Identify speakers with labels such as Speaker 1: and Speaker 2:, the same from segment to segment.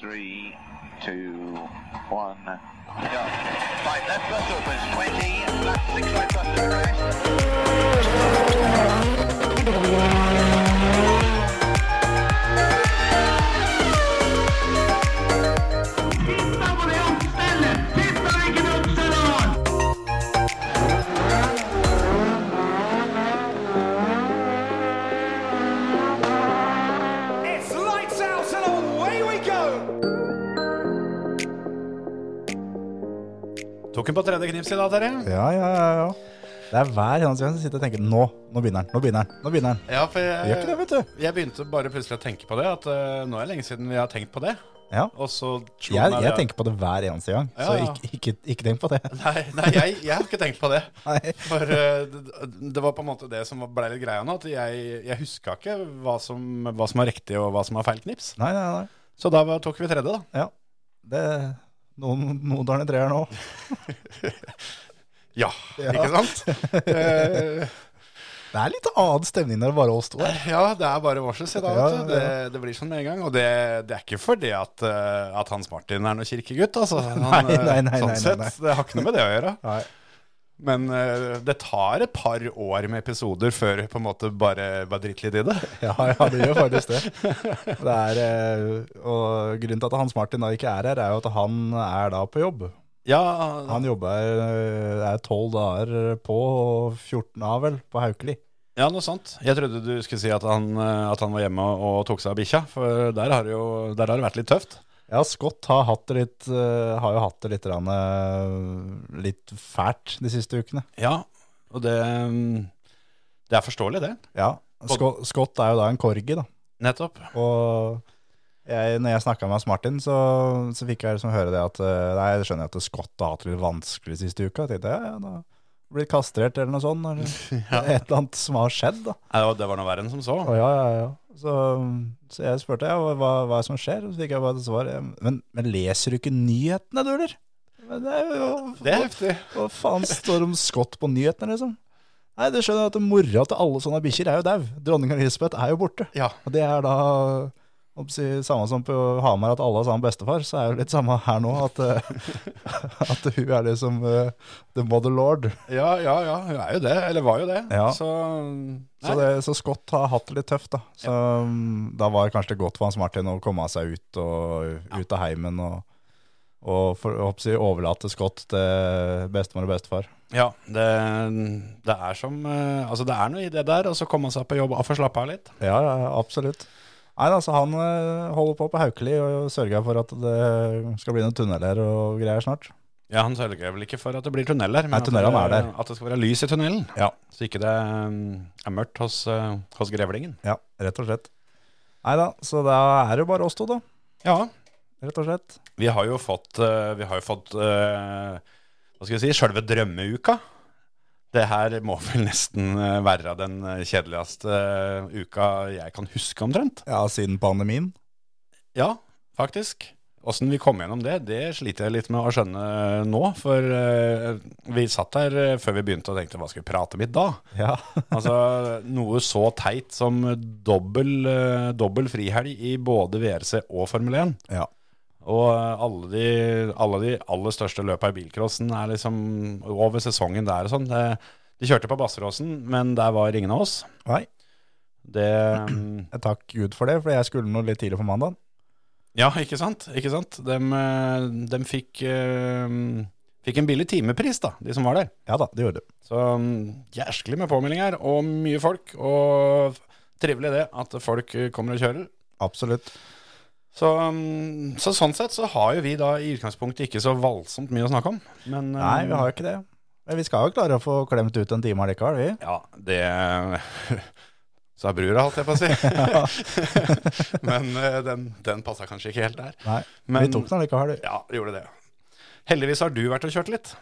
Speaker 1: three, two, one, go. Right, left bus opens, 20, left six right bus to rest.
Speaker 2: It's lights out and away we go!
Speaker 3: Tok en på tredje knips i dag, Terje.
Speaker 4: Ja, ja, ja, ja. Det er hver eneste gang jeg sitter og tenker Nå, nå begynner den, nå begynner den, nå begynner den.
Speaker 3: Ja, for
Speaker 4: Det gjør ikke det,
Speaker 3: jeg,
Speaker 4: vet du.
Speaker 3: jeg begynte bare plutselig å tenke på det. At eh, nå er det lenge siden jeg har tenkt på det.
Speaker 4: Ja.
Speaker 3: Og så slo
Speaker 4: Jeg,
Speaker 3: meg det
Speaker 4: jeg tenker på det hver eneste gang, så
Speaker 3: Ja.
Speaker 4: ikke, ikke, ikke tenk på det.
Speaker 3: Nei, nei jeg, jeg har ikke tenkt på det.
Speaker 4: Nei.
Speaker 3: For eh, det, det var på en måte det som ble litt greia nå. At jeg, jeg huska ikke hva som, hva som var riktig og hva som var feil knips.
Speaker 4: Nei, nei, nei.
Speaker 3: Så da var- tok vi tredje, da.
Speaker 4: Ja. Det, noen, noen tar ned treeren òg.
Speaker 3: Ja,
Speaker 4: Ja.
Speaker 3: ikke sant? Eh,
Speaker 4: Det er litt annen stemning når det bare oss to er.
Speaker 3: ja, det er bare vårsels i dag,
Speaker 4: Ja,
Speaker 3: vet du. Det, det blir sånn med en gang. Og det, det er ikke fordi at, eh, at Hans Martin er noen kirkegutt, altså. Han,
Speaker 4: Nei,
Speaker 3: eh,
Speaker 4: nei, nei,
Speaker 3: sånn
Speaker 4: nei, nei,
Speaker 3: sett,
Speaker 4: nei.
Speaker 3: Det har ikke noe med det å gjøre.
Speaker 4: Nei.
Speaker 3: Men eh, det tar et par år med episoder før på en måte bare, bare driter litt i det.
Speaker 4: Ja, ja, det gjør faktisk det. det er, eh, og grunnen til at Hans Martin da ikke er her, er jo at han er da på jobb.
Speaker 3: Ja,
Speaker 4: Han jobber eh, er tolv dager på og 14 av, vel, på Haukeli.
Speaker 3: ja, noe sånt. Jeg trodde du skulle si at han, eh, at han var hjemme og tok seg av bikkja, for der har, det jo, der har det vært litt tøft.
Speaker 4: Ja, Scott har, hatt det litt, eh, har jo hatt det litt, grann, eh, litt fælt de siste ukene.
Speaker 3: Ja, og det, mm, det er forståelig, det.
Speaker 4: Ja, Scott, Scott er jo da en korgi, da.
Speaker 3: Nettopp.
Speaker 4: Og jeg, når jeg snakka med Hans Martin, så, så fikk jeg liksom høre det at eh, Nei, jeg skjønner at Scott har hatt det litt vanskelig siste uka. Jeg tenkte ja, ja, da blitt kastrert eller noe sånt. Eller et eller annet som har skjedd, da.
Speaker 3: Nei, det var- det var noe verre enn som så.
Speaker 4: Å, ja, ja, ja. Så, så jeg spurte ja, hva, hva hva er det som skjer, og så fikk jeg bare til svar ja, men, men leser du ikke nyhetene, du, eller? Men det er jo
Speaker 3: Det er heftig.
Speaker 4: Hva faen står om Scott på nyhetene, liksom? Nei, du skjønner at mora til alle sånne bikkjer er jo dau. Dronning Elisabeth er jo borte.
Speaker 3: Ja.
Speaker 4: Og det er da om å si, samme som på Hamar, at alle har samme bestefar. Så er det litt samme her nå, at, eh, at hun er liksom eh, the mother lord.
Speaker 3: ja, ja, ja. Hun er jo det. Eller var jo det.
Speaker 4: Ja.
Speaker 3: Så,
Speaker 4: Så,
Speaker 3: nei.
Speaker 4: det, så Scott har hatt det litt tøft, da. Så mm, da var det kanskje det godt for Hans Martin å komme seg ut, og, ut av heimen og, og for, å si, overlate Scott til bestemor og bestefar.
Speaker 3: Ja, det, det er som eh, Altså, det er noe i det der, og så komme seg på jobb og få slappe av litt.
Speaker 4: Ja, ja, ja, absolutt. Nei, altså Han eh, holder på på Haukeli og sørger for at det skal bli noen tunneler og greier snart.
Speaker 3: Ja, han sørger vel ikke for at det blir tunneler, men
Speaker 4: Nei, tunnelene
Speaker 3: at, det,
Speaker 4: er der.
Speaker 3: at det skal være lys i tunnelen.
Speaker 4: Ja.
Speaker 3: Så ikke det um, er mørkt hos, uh, hos grevlingen.
Speaker 4: Ja, rett og slett. Nei da, så da er det jo bare oss to, da.
Speaker 3: Ja,
Speaker 4: Rett og slett.
Speaker 3: vi har jo fått, uh, vi har jo fått uh, hva skal jeg si, sjølve drømmeuka. Det her må vel nesten uh, være den uh, kjedeligste uh, uka jeg kan huske omtrent.
Speaker 4: Ja, siden pandemien.
Speaker 3: Ja, faktisk. Åssen vi kom gjennom det, det sliter jeg litt med å skjønne nå. For eh, vi satt her eh, før vi begynte og tenkte hva skal vi prate om i dag?
Speaker 4: Ja.
Speaker 3: Altså noe så teit som dobbel, eh, dobbel frihelg i både VRC og Formel 1.
Speaker 4: ja.
Speaker 3: Og eh, alle de, alle de aller største løpa i bilcrossen er liksom over sesongen der og sånn. Det, de kjørte på Basseråsen, men der var ingen av oss.
Speaker 4: Nei,
Speaker 3: Det mm,
Speaker 4: jeg takk Gud for det, for jeg skulle noe litt tidlig på mandag.
Speaker 3: Ja, ikke sant? Ikke sant? De, fikk, eh, fikk en billig timepris, da, de som var der.
Speaker 4: Ja da, det gjorde du.
Speaker 3: Så mm, jæsklig med påmelding her, og mye folk. Og trivelig det at folk eh, kommer og kjører.
Speaker 4: Absolutt.
Speaker 3: Så, mm, så sånn sett så har jo vi da i utgangspunktet ikke så voldsomt mye å snakke om. Men eh,
Speaker 4: Nei, vi har jo ikke det. Men vi skal jo klare å få klemt ut en time allikevel, vi.
Speaker 3: Ja, det Sa brura, holdt jeg på å si. Men eh, den, den passa kanskje ikke helt der.
Speaker 4: Nei,
Speaker 3: Men-
Speaker 4: Vi tok den allikevel, du.
Speaker 3: Ja, gjorde det. Heldigvis har du vært og kjørt litt.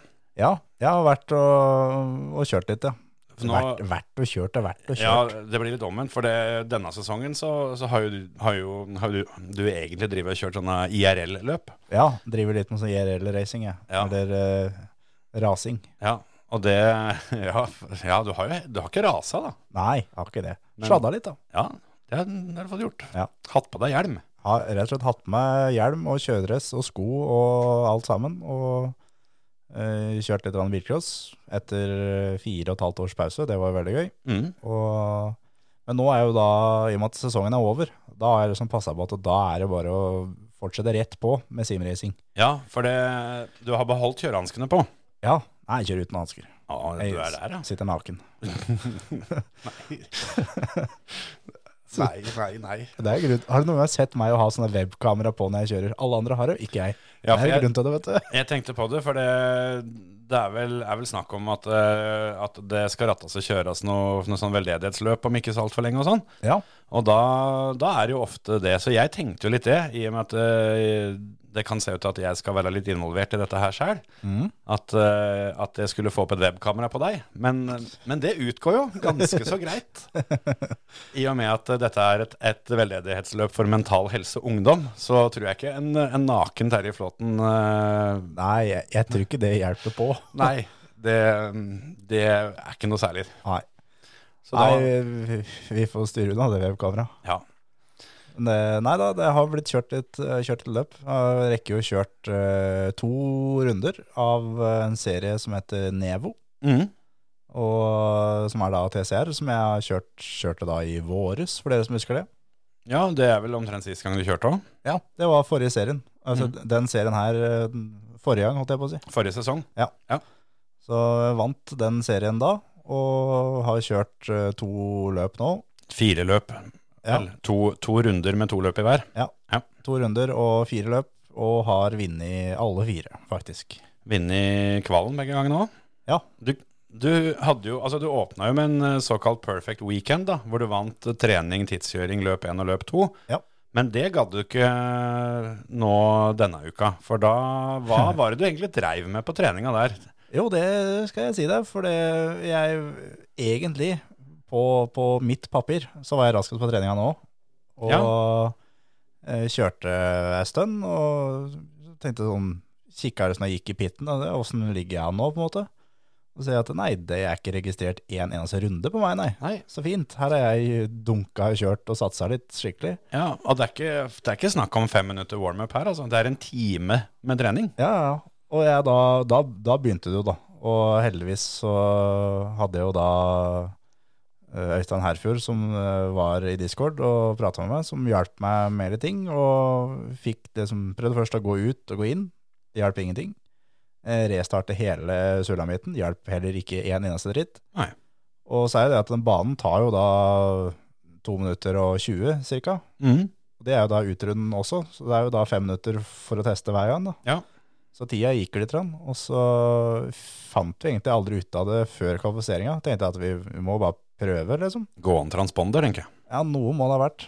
Speaker 4: Ja, jeg har vært og, og kjørt litt, ja.
Speaker 3: For nå-
Speaker 4: Vært, vært og kjørt og vært og
Speaker 3: Ja,
Speaker 4: kjørt.
Speaker 3: det blir litt omvendt, for det, denne sesongen så, så har jo, du- har jo, har du, du egentlig drivet og kjørt sånne IRL-løp.
Speaker 4: Ja, driver litt med sånn IRL-racing, jeg.
Speaker 3: Ja.
Speaker 4: Eller eh, rasing.
Speaker 3: Ja, og det Ja, f- ja du, har jo, du har ikke rasa, da.
Speaker 4: Nei, jeg har ikke det. Sladda litt, da.
Speaker 3: Ja, det har det har du fått gjort.
Speaker 4: Ja.
Speaker 3: Hatt på deg hjelm.
Speaker 4: Har rett og slett hatt på meg hjelm og kjøredress og sko og alt sammen. Og eh, kjørt litt grann bilcross etter eh, fire og et halvt års pause. Det var veldig gøy.
Speaker 3: Mm.
Speaker 4: Og, men nå er jo da, i og med at sesongen er over, da er det som passer på at da er det bare å fortsette rett på med simracing.
Speaker 3: Ja, for det, du har beholdt kjørehanskene på.
Speaker 4: Ja, nei, jeg kjører uten hansker.
Speaker 3: Ja,
Speaker 4: Jeg
Speaker 3: du er der, ja.
Speaker 4: Sitter naken.
Speaker 3: Nei, nei, nei.
Speaker 4: Det er grunn. Har du noen gang sett meg å ha sånne webkamera på når jeg kjører? Alle andre har det, ikke jeg.
Speaker 3: Ja, for
Speaker 4: det er
Speaker 3: jeg-
Speaker 4: grunn til det, vet du.
Speaker 3: Jeg tenkte på det, for det, det er, vel, er vel snakk om at, eh, at det skal rattes og kjøres noe, noe sånn veldedighetsløp om ikke så altfor lenge og sånn.
Speaker 4: Ja,
Speaker 3: Og da, da er det jo ofte det. Så jeg tenkte jo litt det, i og med at eh, det kan se ut til at jeg skal være litt involvert i dette her sjøl. At, eh, at jeg skulle få opp et webkamera på deg. Men, men det utgår jo ganske så greit. I og med at eh, dette er et, et veldedighetsløp for mental helse og ungdom, så tror jeg ikke en, en naken Terje Flåten eh,
Speaker 4: Nei, jeg, jeg tror ikke det hjelper på.
Speaker 3: Nei, det, det er ikke noe særlig.
Speaker 4: Nei,
Speaker 3: Så da,
Speaker 4: nei vi, vi får styre unna det webkameraet.
Speaker 3: ja.
Speaker 4: Men det- Nei da, det har blitt kjørt et, eh, kjørt et løp. Jeg rekker jo kjørt eh, to runder av eh, en serie som heter Nevo,
Speaker 3: Mhm.
Speaker 4: og, eh, som er da TCR, som jeg har kjørt, kjørte da i våres, for dere som husker det.
Speaker 3: ja, det er vel omtrent sist gang du kjørte òg.
Speaker 4: Ja, det var forrige serien. Altså
Speaker 3: Mm.
Speaker 4: den serien her, eh, den forrige gang, holdt jeg på å si.
Speaker 3: Forrige sesong.
Speaker 4: Så jeg vant den serien da, og har kjørt eh, to løp nå.
Speaker 3: Fire løp.
Speaker 4: Ja.
Speaker 3: Vel, To, to runder med to løp i hver.
Speaker 4: To runder og fire løp, og har vunnet alle fire, faktisk.
Speaker 3: Vunnet kvalen begge gangene òg.
Speaker 4: Ja.
Speaker 3: Du, du, hadde jo, altså du åpna jo med en eh, såkalt perfect weekend, da, hvor du vant eh, trening, tidskjøring, løp én og løp to.
Speaker 4: Ja.
Speaker 3: Men det gadd du ikke eh, nå denne uka. For da Hva var det du egentlig dreiv med på treninga der?
Speaker 4: Jo, det skal jeg si deg, for det jeg egentlig på, på mitt papir så var jeg raskest på treninga nå. Og eh, kjørte ei stund og tenkte sånn Kikka liksom når jeg gikk i pitten, og det, åssen ligger jeg an nå, på en måte? Og så ser jeg at nei, det er ikke registrert én eneste runde på meg, nei.
Speaker 3: Nei.
Speaker 4: Så fint. Her har jeg dunka og kjørt og satsa litt skikkelig.
Speaker 3: Ja, og det er ikke, det er ikke snakk om fem minutter warm-up her, altså. Det er en time med trening.
Speaker 4: Ja, ja. Og jeg, da, da, da begynte det jo, da. Og heldigvis så hadde jeg jo da eh, Øystein Herfjord, som eh, var i Discord og prata med meg, som hjalp meg med litt ting. Og fikk det som prøvde først å gå ut og gå inn. Det hjalp ingenting. Eh, Restarte hele sulamitten. Hjalp heller ikke en eneste dritt.
Speaker 3: Nei.
Speaker 4: Og så er jo det at den banen tar jo da to minutter og 20 cirka.
Speaker 3: Mhm.
Speaker 4: Det er jo da utrunden også, så det er jo da fem minutter for å teste hver gang. Da.
Speaker 3: Ja.
Speaker 4: Så tida gikk litt, grann, og så fant vi egentlig aldri ut av det før kvalifiseringa. Tenkte jeg at vi, vi må bare prøve, liksom.
Speaker 3: Gåen transponder, tenker jeg.
Speaker 4: Ja, noe må det ha vært.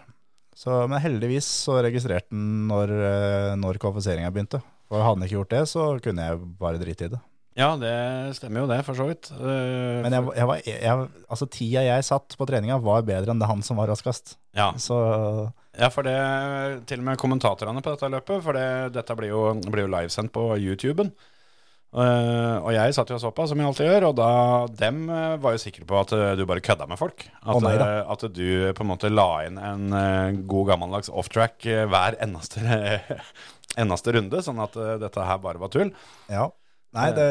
Speaker 4: Så, men heldigvis så registrerte den når, eh, når kvalifiseringa begynte. For hadde den ikke gjort det, så kunne jeg bare drite i det.
Speaker 3: Ja, det stemmer jo det, for så vidt. Eh,
Speaker 4: Men jeg, jeg var, jeg, altså, tida jeg satt på treninga, var bedre enn det han som var raskest.
Speaker 3: ja.
Speaker 4: Så
Speaker 3: ja, for det Til og med kommentatorene på dette løpet, for det, dette blir jo, blir jo livesendt på YouTuben. Eh, og jeg satt jo og så på, som jeg alltid gjør, og da dem eh, var jo sikre på at eh, du bare kødda med folk. At,
Speaker 4: Å, nei da.
Speaker 3: eh, at du på en måte la inn en eh, god gammeldags off-track eh, hver eneste, eneste runde, sånn at eh, dette her bare var tull.
Speaker 4: Ja. Nei, det,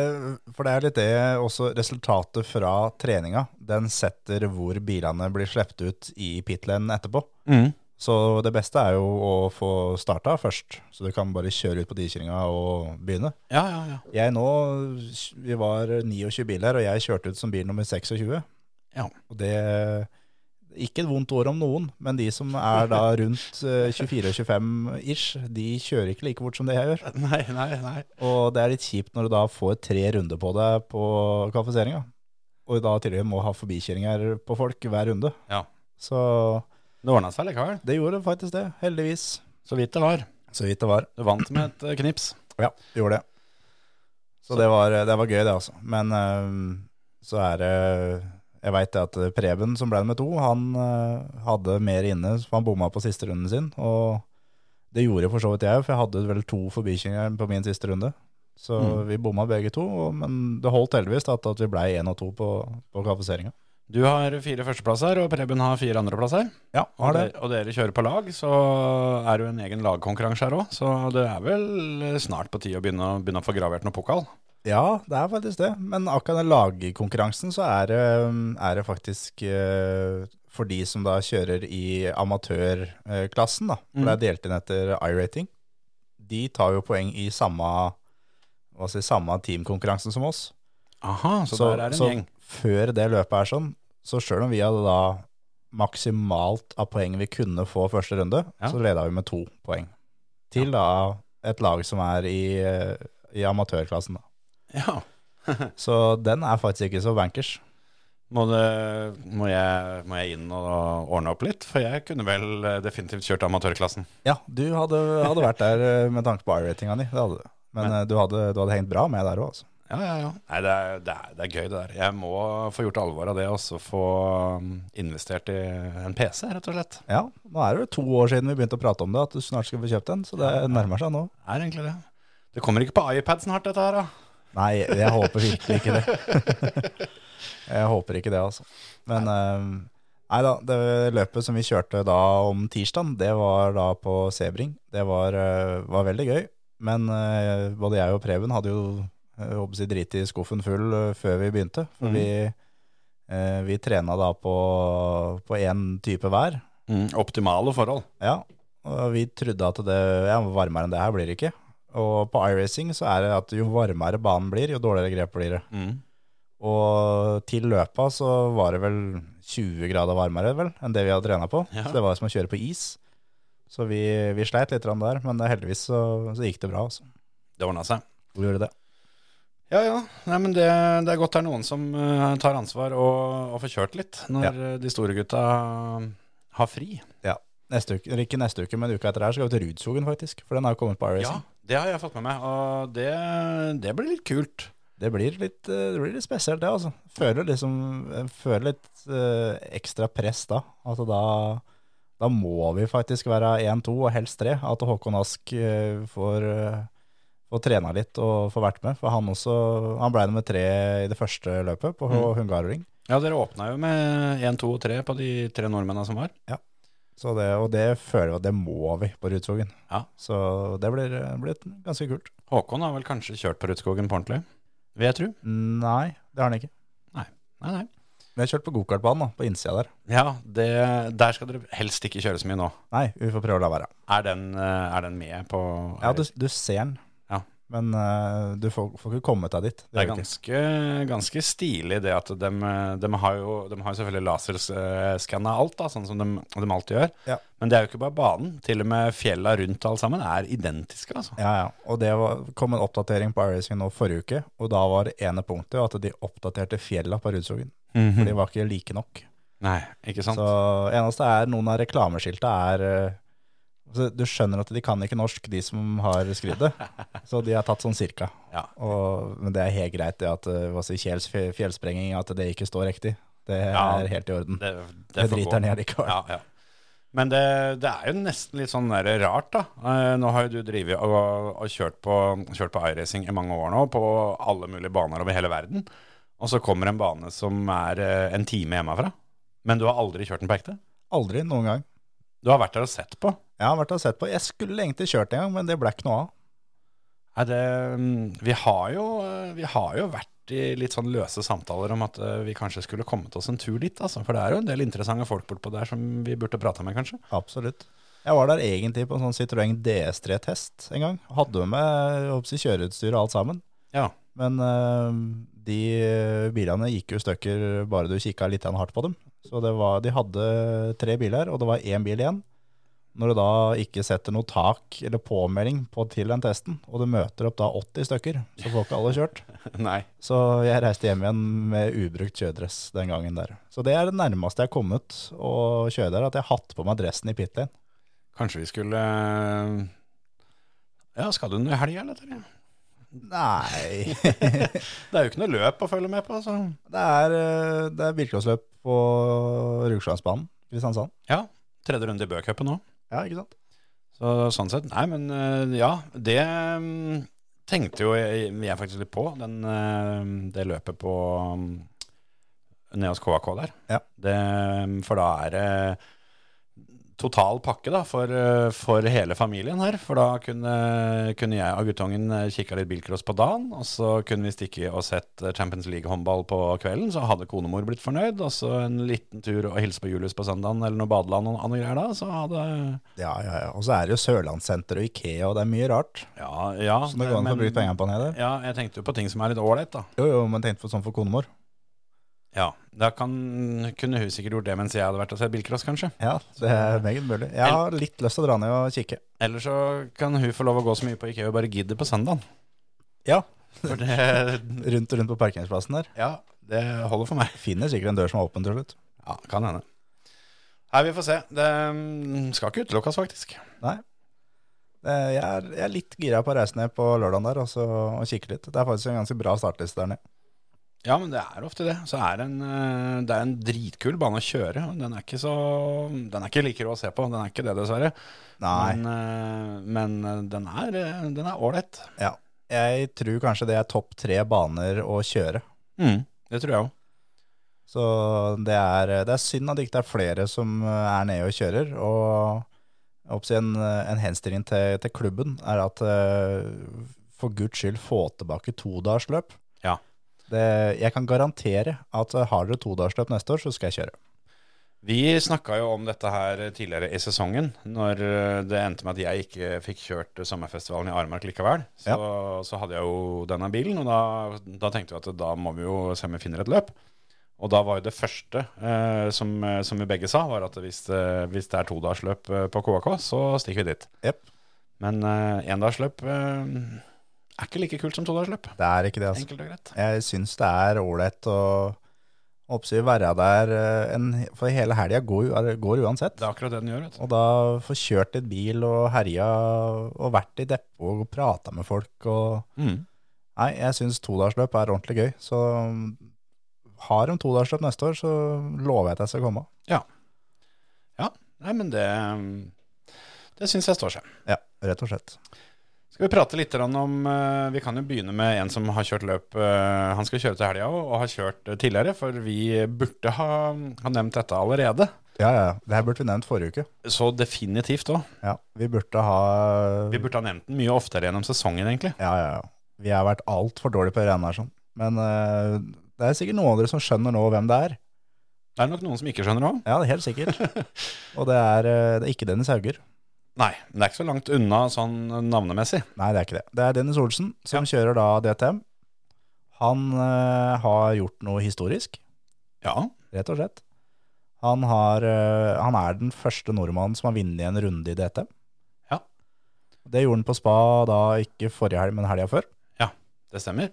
Speaker 4: for det er litt det også resultatet fra treninga. Den setter hvor bilene blir sluppet ut i pitlane etterpå. Så det beste er jo å få starta først, så du kan bare kjøre ut på dikjøringa og begynne.
Speaker 3: Ja, ja, ja.
Speaker 4: Jeg nå, Vi var 29 biler, og jeg kjørte ut som bil nummer 26.
Speaker 3: Ja.
Speaker 4: Og det Ikke et vondt ord om noen, men de som er da rundt eh, 24 og 25 ish, de kjører ikke like fort som det jeg gjør.
Speaker 3: Nei, nei, nei.
Speaker 4: Og det er litt kjipt når du da får tre runder på deg på kvalifiseringa. Og da til og med må ha forbikjøringer på folk hver runde.
Speaker 3: Ja.
Speaker 4: Så
Speaker 3: Det ordna seg likevel.
Speaker 4: det gjorde faktisk det, heldigvis.
Speaker 3: Så vidt det var.
Speaker 4: Så vidt det var.
Speaker 3: Du vant med et eh, knips.
Speaker 4: Ja, det gjorde det. Så det var, det var gøy, det, altså. Men øhm, så er det Jeg veit at Preben, som ble nummer to, han øh, hadde mer inne, så han bomma på siste runden sin. Og det gjorde for så vidt jeg òg, for jeg hadde vel to forbikjøringer på min siste runde. Mm. Så vi bomma begge to, og, men det holdt heldigvis da, at at vi blei én og to på, på kvalifiseringa.
Speaker 3: Du har fire førsteplasser, og Preben har fire andreplasser.
Speaker 4: Ja, har det.
Speaker 3: Og dere- Og dere kjører på lag, så er det jo en egen lagkonkurranse her òg. Så det er vel eh, snart på tide å begynne, å- begynne å få gravert noe pokal.
Speaker 4: Ja, det er faktisk det. Men akkurat den lagkonkurransen så er det, er det faktisk eh, for de som da kjører i amatørklassen, da.
Speaker 3: Mm.
Speaker 4: For det er delt inn etter I-rating. De tar jo poeng i samme, hva skal jeg si, samme teamkonkurransen som oss.
Speaker 3: Aha, så, der er en
Speaker 4: så
Speaker 3: gjeng.
Speaker 4: før det løpet er sånn, så sjøl om vi hadde da maksimalt av poeng vi kunne få første runde,
Speaker 3: Ja.
Speaker 4: så leda vi med to poeng. Til da et lag som er i, eh, i amatørklassen, da.
Speaker 3: Ja.
Speaker 4: Så den er faktisk ikke så bankers.
Speaker 3: Må, det, må, jeg, må jeg inn og ordne opp litt? For jeg kunne vel eh, definitivt kjørt amatørklassen.
Speaker 4: Ja, du hadde, hadde vært der eh, med tanke på i-ratinga di. Det hadde du. Men eh, du hadde, du hadde hengt bra med der òg, altså.
Speaker 3: Ja, ja, ja. Nei, det er, det, er, det er gøy, det der. Jeg må få gjort alvor av det, og så få mm, investert i en PC, rett og slett.
Speaker 4: Ja, nå er det jo to år siden vi begynte å prate om det, at du snart skal få kjøpt en. Så det nærmer seg nå.
Speaker 3: Det er egentlig det. Det kommer ikke på iPad snart, dette her, da.
Speaker 4: Nei, jeg håper virkelig ikke det. jeg håper ikke det, altså. Men eh, nei da, det løpet som vi kjørte da om tirsdagen, det var da på Sebring. Det var, eh, var veldig gøy. Men eh, både jeg og Preben hadde jo eh, håper jeg, å si, drit i skuffen full eh, før vi begynte. For vi, eh, vi trena da på på én type vær.
Speaker 3: Mm, optimale forhold.
Speaker 4: Ja, og vi trodde at det ja, varmere enn det her blir det ikke. Og på iRacing så er det at jo varmere banen blir, jo dårligere grep blir det.
Speaker 3: Mm.
Speaker 4: Og til løpa så var det vel 20 grader varmere vel, enn det vi hadde trena på.
Speaker 3: Ja.
Speaker 4: Så det var som å kjøre på is. Så vi, vi sleit litt grann der, men heldigvis så, så gikk det bra. Altså.
Speaker 3: Det ordna seg.
Speaker 4: Vi gjorde det.
Speaker 3: Ja, ja. Nei, men det, det er godt det er noen som eh, tar ansvar og, og får kjørt litt når eh, de store gutta um, har fri.
Speaker 4: Neste uke, eller ikke neste uke, men uka etter her skal vi til Rudskogen faktisk. For den har jo kommet på
Speaker 3: Ja,
Speaker 4: iRacing.
Speaker 3: det har jeg fått med meg, og det, det blir litt kult.
Speaker 4: Det blir litt, eh, det blir litt spesielt det, altså. Føler liksom, jeg føler litt eh, ekstra press da. Altså da, da må vi faktisk være 1-2 og helst 3. At Håkon Ask eh, får, eh, får trena litt og får vært med. For han også, han ble nummer 3 i det første løpet på
Speaker 3: Mm.
Speaker 4: Hungaroring.
Speaker 3: Ja, dere åpna jo med 1, 2 og 3 på de tre nordmennene som var.
Speaker 4: Så det, og det føler vi at det må vi på Rudskogen.
Speaker 3: Ja.
Speaker 4: Så det blir, eh, blir ganske kult.
Speaker 3: Håkon har vel kanskje kjørt på Rudskogen på ordentlig, vil jeg tro.
Speaker 4: Nei, det har han ikke.
Speaker 3: Nei, nei.
Speaker 4: Vi har kjørt på gokartbanen da, på innsida der.
Speaker 3: Ja, det, der skal dere helst ikke kjøre så mye nå.
Speaker 4: Nei, vi får prøve å la være.
Speaker 3: Er den, eh, er den med på
Speaker 4: Ja, du, du ser den.
Speaker 3: Ja.
Speaker 4: Men eh, du får, får ikke kommet deg dit.
Speaker 3: Det er
Speaker 4: gjør du ikke.
Speaker 3: ganske, ganske stilig det at de, har, jo, dem har jo selvfølgelig laserskanna alt, da, sånn som de, alltid gjør.
Speaker 4: Ja.
Speaker 3: Men det er jo ikke bare banen. Til og med fjella rundt alle sammen er identiske. altså.
Speaker 4: Ja, ja. Og det var, kom en oppdatering på iRacing nå forrige uke, og da var det ene punktet at de oppdaterte fjella på Rudskogen. For de var ikke like nok.
Speaker 3: Nei, ikke Mhm. sant?
Speaker 4: Så eneste er noen av reklameskilta er eh, altså, Du skjønner at de kan ikke norsk, de som har skrevet det. Så de har tatt sånn cirka.
Speaker 3: Ja.
Speaker 4: Og, men det er helt greit det at eh, hva skal jeg si, Kjells fj- fjellsprenging, at det ikke står riktig. Det
Speaker 3: Ja.
Speaker 4: er helt i orden.
Speaker 3: det,
Speaker 4: Det
Speaker 3: får gå.
Speaker 4: driter han i allikevel.
Speaker 3: Ja, ja. Men det, det er jo nesten litt sånn der rart, da. Eh, nå har jo du drevet og, og kjørt på, kjørt på iRacing i mange år nå, på alle mulige baner over hele verden. Og så kommer en bane som er eh, en time hjemmefra. Men du har aldri kjørt den på ekte?
Speaker 4: Aldri noen gang.
Speaker 3: Du har vært der og sett på.
Speaker 4: Jeg har vært og sett på. Jeg skulle egentlig kjørt en gang, men det ble ikke noe av.
Speaker 3: Nei, det, mm, vi, har jo, eh, vi har jo vært i litt sånn løse samtaler om at eh, vi kanskje skulle kommet oss en tur dit. Altså, for det er jo en del interessante folk bortpå der som vi burde prata med, kanskje.
Speaker 4: Absolutt. Jeg var der egentlig på en sånn Citroën DS3-test en gang. Hadde jo med jeg håper å si, kjøreutstyr og alt sammen.
Speaker 3: Ja.
Speaker 4: Men eh, de bilene gikk jo i stykker bare du kikka litt hardt på dem. Så det var, de hadde tre biler, og det var én bil igjen. Når du da ikke setter noe tak eller påmelding på til den testen, og du møter opp da 80 stykker, så får ikke alle kjørt.
Speaker 3: Nei.
Speaker 4: Så jeg reiste hjem igjen med ubrukt kjøredress den gangen der. Så det er det nærmeste jeg har kommet å kjøre der, at jeg har hatt på meg dressen i pit lane.
Speaker 3: Kanskje vi skulle eh, Ja, skal du noe i helga, eller? Terje?
Speaker 4: Nei.
Speaker 3: Det er jo ikke noe løp å følge med på, altså. så
Speaker 4: det er, eh, det er bilcrossløp på Rugslandsbanen, Kristiansand.
Speaker 3: Ja. Tredje runde i Bø-cupen nå.
Speaker 4: Ja, ikke sant?
Speaker 3: Så sånn sett, nei, men eh, ja, det mm, tenkte jo jeg, jeg faktisk litt på, den, eh, det løpet på mm, nede hos KAK der.
Speaker 4: Ja.
Speaker 3: Det, mm, for da er det total pakke da, for, eh, for hele familien her. For da kunne, kunne jeg og guttungen eh, kikka litt bilcross på dagen, og så kunne vi stikke og sett eh, Champions League-håndball på kvelden, så hadde konemor blitt fornøyd. Og så en liten tur og hilse på Julius på søndagen, eller noe badeland og noe greier da, så hadde
Speaker 4: Ja, ja, ja. Og så er det jo Sørlandssenter og Ikea, og det er mye rart.
Speaker 3: Ja, ja.
Speaker 4: Så det går an å
Speaker 3: men-
Speaker 4: bruke pengene på nede.
Speaker 3: Ja, jeg tenkte jo på ting som er litt ålreit, da.
Speaker 4: Jo, jo, men tenk for sånn for konemor.
Speaker 3: Ja, Da kan, kunne hun sikkert gjort det mens jeg hadde vært og sett bilcross, kanskje.
Speaker 4: Ja, det er meget mulig. Jeg har litt lyst til å dra ned og kikke.
Speaker 3: Eller så kan hun få lov å gå så mye på IKEA og bare gidde på søndagen.
Speaker 4: Ja,
Speaker 3: For det,
Speaker 4: rundt og rundt på parkeringsplassen der.
Speaker 3: ja, det holder for meg.
Speaker 4: Finner sikkert en dør som er åpen til slutt.
Speaker 3: Ja, kan hende. Nei, vi får se. Det mm, skal ikke utelukkes, faktisk.
Speaker 4: Nei. Eh, Jeg er, jeg er litt gira på å reise ned på lørdagen der og, så, og kikke litt. Det er faktisk en ganske bra startliste der nede.
Speaker 3: Ja, men det er ofte det. Så er det en, eh, det er en dritkul bane å kjøre. og Den er ikke så Den er ikke like rå å se på. Den er ikke det, dessverre.
Speaker 4: Nei.
Speaker 3: Men, eh, men eh, den er eh, Den er ålreit.
Speaker 4: Ja. Jeg tror kanskje det er topp tre baner å kjøre.
Speaker 3: Det tror jeg òg.
Speaker 4: Så det er, det er synd at det ikke er flere som eh, er nede og kjører. Og jeg håper å si en, en henstilling til, til klubben er at eh, for guds skyld få tilbake todagersløp.
Speaker 3: Ja.
Speaker 4: Det, jeg kan garantere at eh, har dere todagersløp neste år, så skal jeg kjøre.
Speaker 3: Vi snakka jo om dette her tidligere i sesongen, når eh, det endte med at jeg ikke fikk kjørt sommerfestivalen i Armark likevel. Så, så hadde jeg jo denne bilen, og da, da tenkte vi at da må vi jo se om vi finner et løp. Og da var jo det første eh, som, eh, som vi begge sa, var at hvis, eh, hvis det er todagersløp eh, på KAK, så stikker vi dit.
Speaker 4: Jepp.
Speaker 3: Men eh, endagsløp eh, er ikke like kult som todagersløp.
Speaker 4: Det er ikke det, altså.
Speaker 3: Enkelt og greit.
Speaker 4: Jeg syns det er ålreit å oppsi være der, eh, en, for hele helga går, jo- er- går uansett.
Speaker 3: Det er akkurat det den gjør, vet du.
Speaker 4: Og da få kjørt litt bil og herja og vært i depot og prata med folk og
Speaker 3: Mm.
Speaker 4: Nei, jeg syns todagersløp er ordentlig gøy. Så mm, har de todagersløp neste år, så lover jeg at jeg skal komme.
Speaker 3: Ja, nei, men det, det syns jeg står seg.
Speaker 4: Ja, rett og slett.
Speaker 3: Skal vi prate litt grann om eh, Vi kan jo begynne med en som har kjørt løp eh, Han skal kjøre til helga òg, og har kjørt eh, tidligere. For vi burde ha, ha nevnt dette allerede.
Speaker 4: Ja, ja. Det her burde vi nevnt forrige uke.
Speaker 3: Så definitivt òg.
Speaker 4: Ja, Vi burde ha
Speaker 3: Vi burde ha nevnt den mye oftere gjennom sesongen, egentlig.
Speaker 4: Ja, ja, ja. Vi har vært altfor dårlige på Reine her sånn. Men eh, det er sikkert noen av dere som skjønner nå hvem det er.
Speaker 3: Det er nok noen som ikke skjønner òg.
Speaker 4: Ja, det er helt sikkert. Og det er, eh, det er ikke Dennis Hauger.
Speaker 3: Nei, men det er ikke så langt unna sånn navnemessig.
Speaker 4: Nei, det er ikke det. Det er Dennis Olsen som kjører da DTM. Han eh, har gjort noe historisk,
Speaker 3: Ja.
Speaker 4: rett og slett. Han, har, eh, han er den første nordmannen som har vunnet en runde i DTM.
Speaker 3: Ja.
Speaker 4: Det gjorde han på spa da ikke forrige helg, men helga før.
Speaker 3: Det stemmer.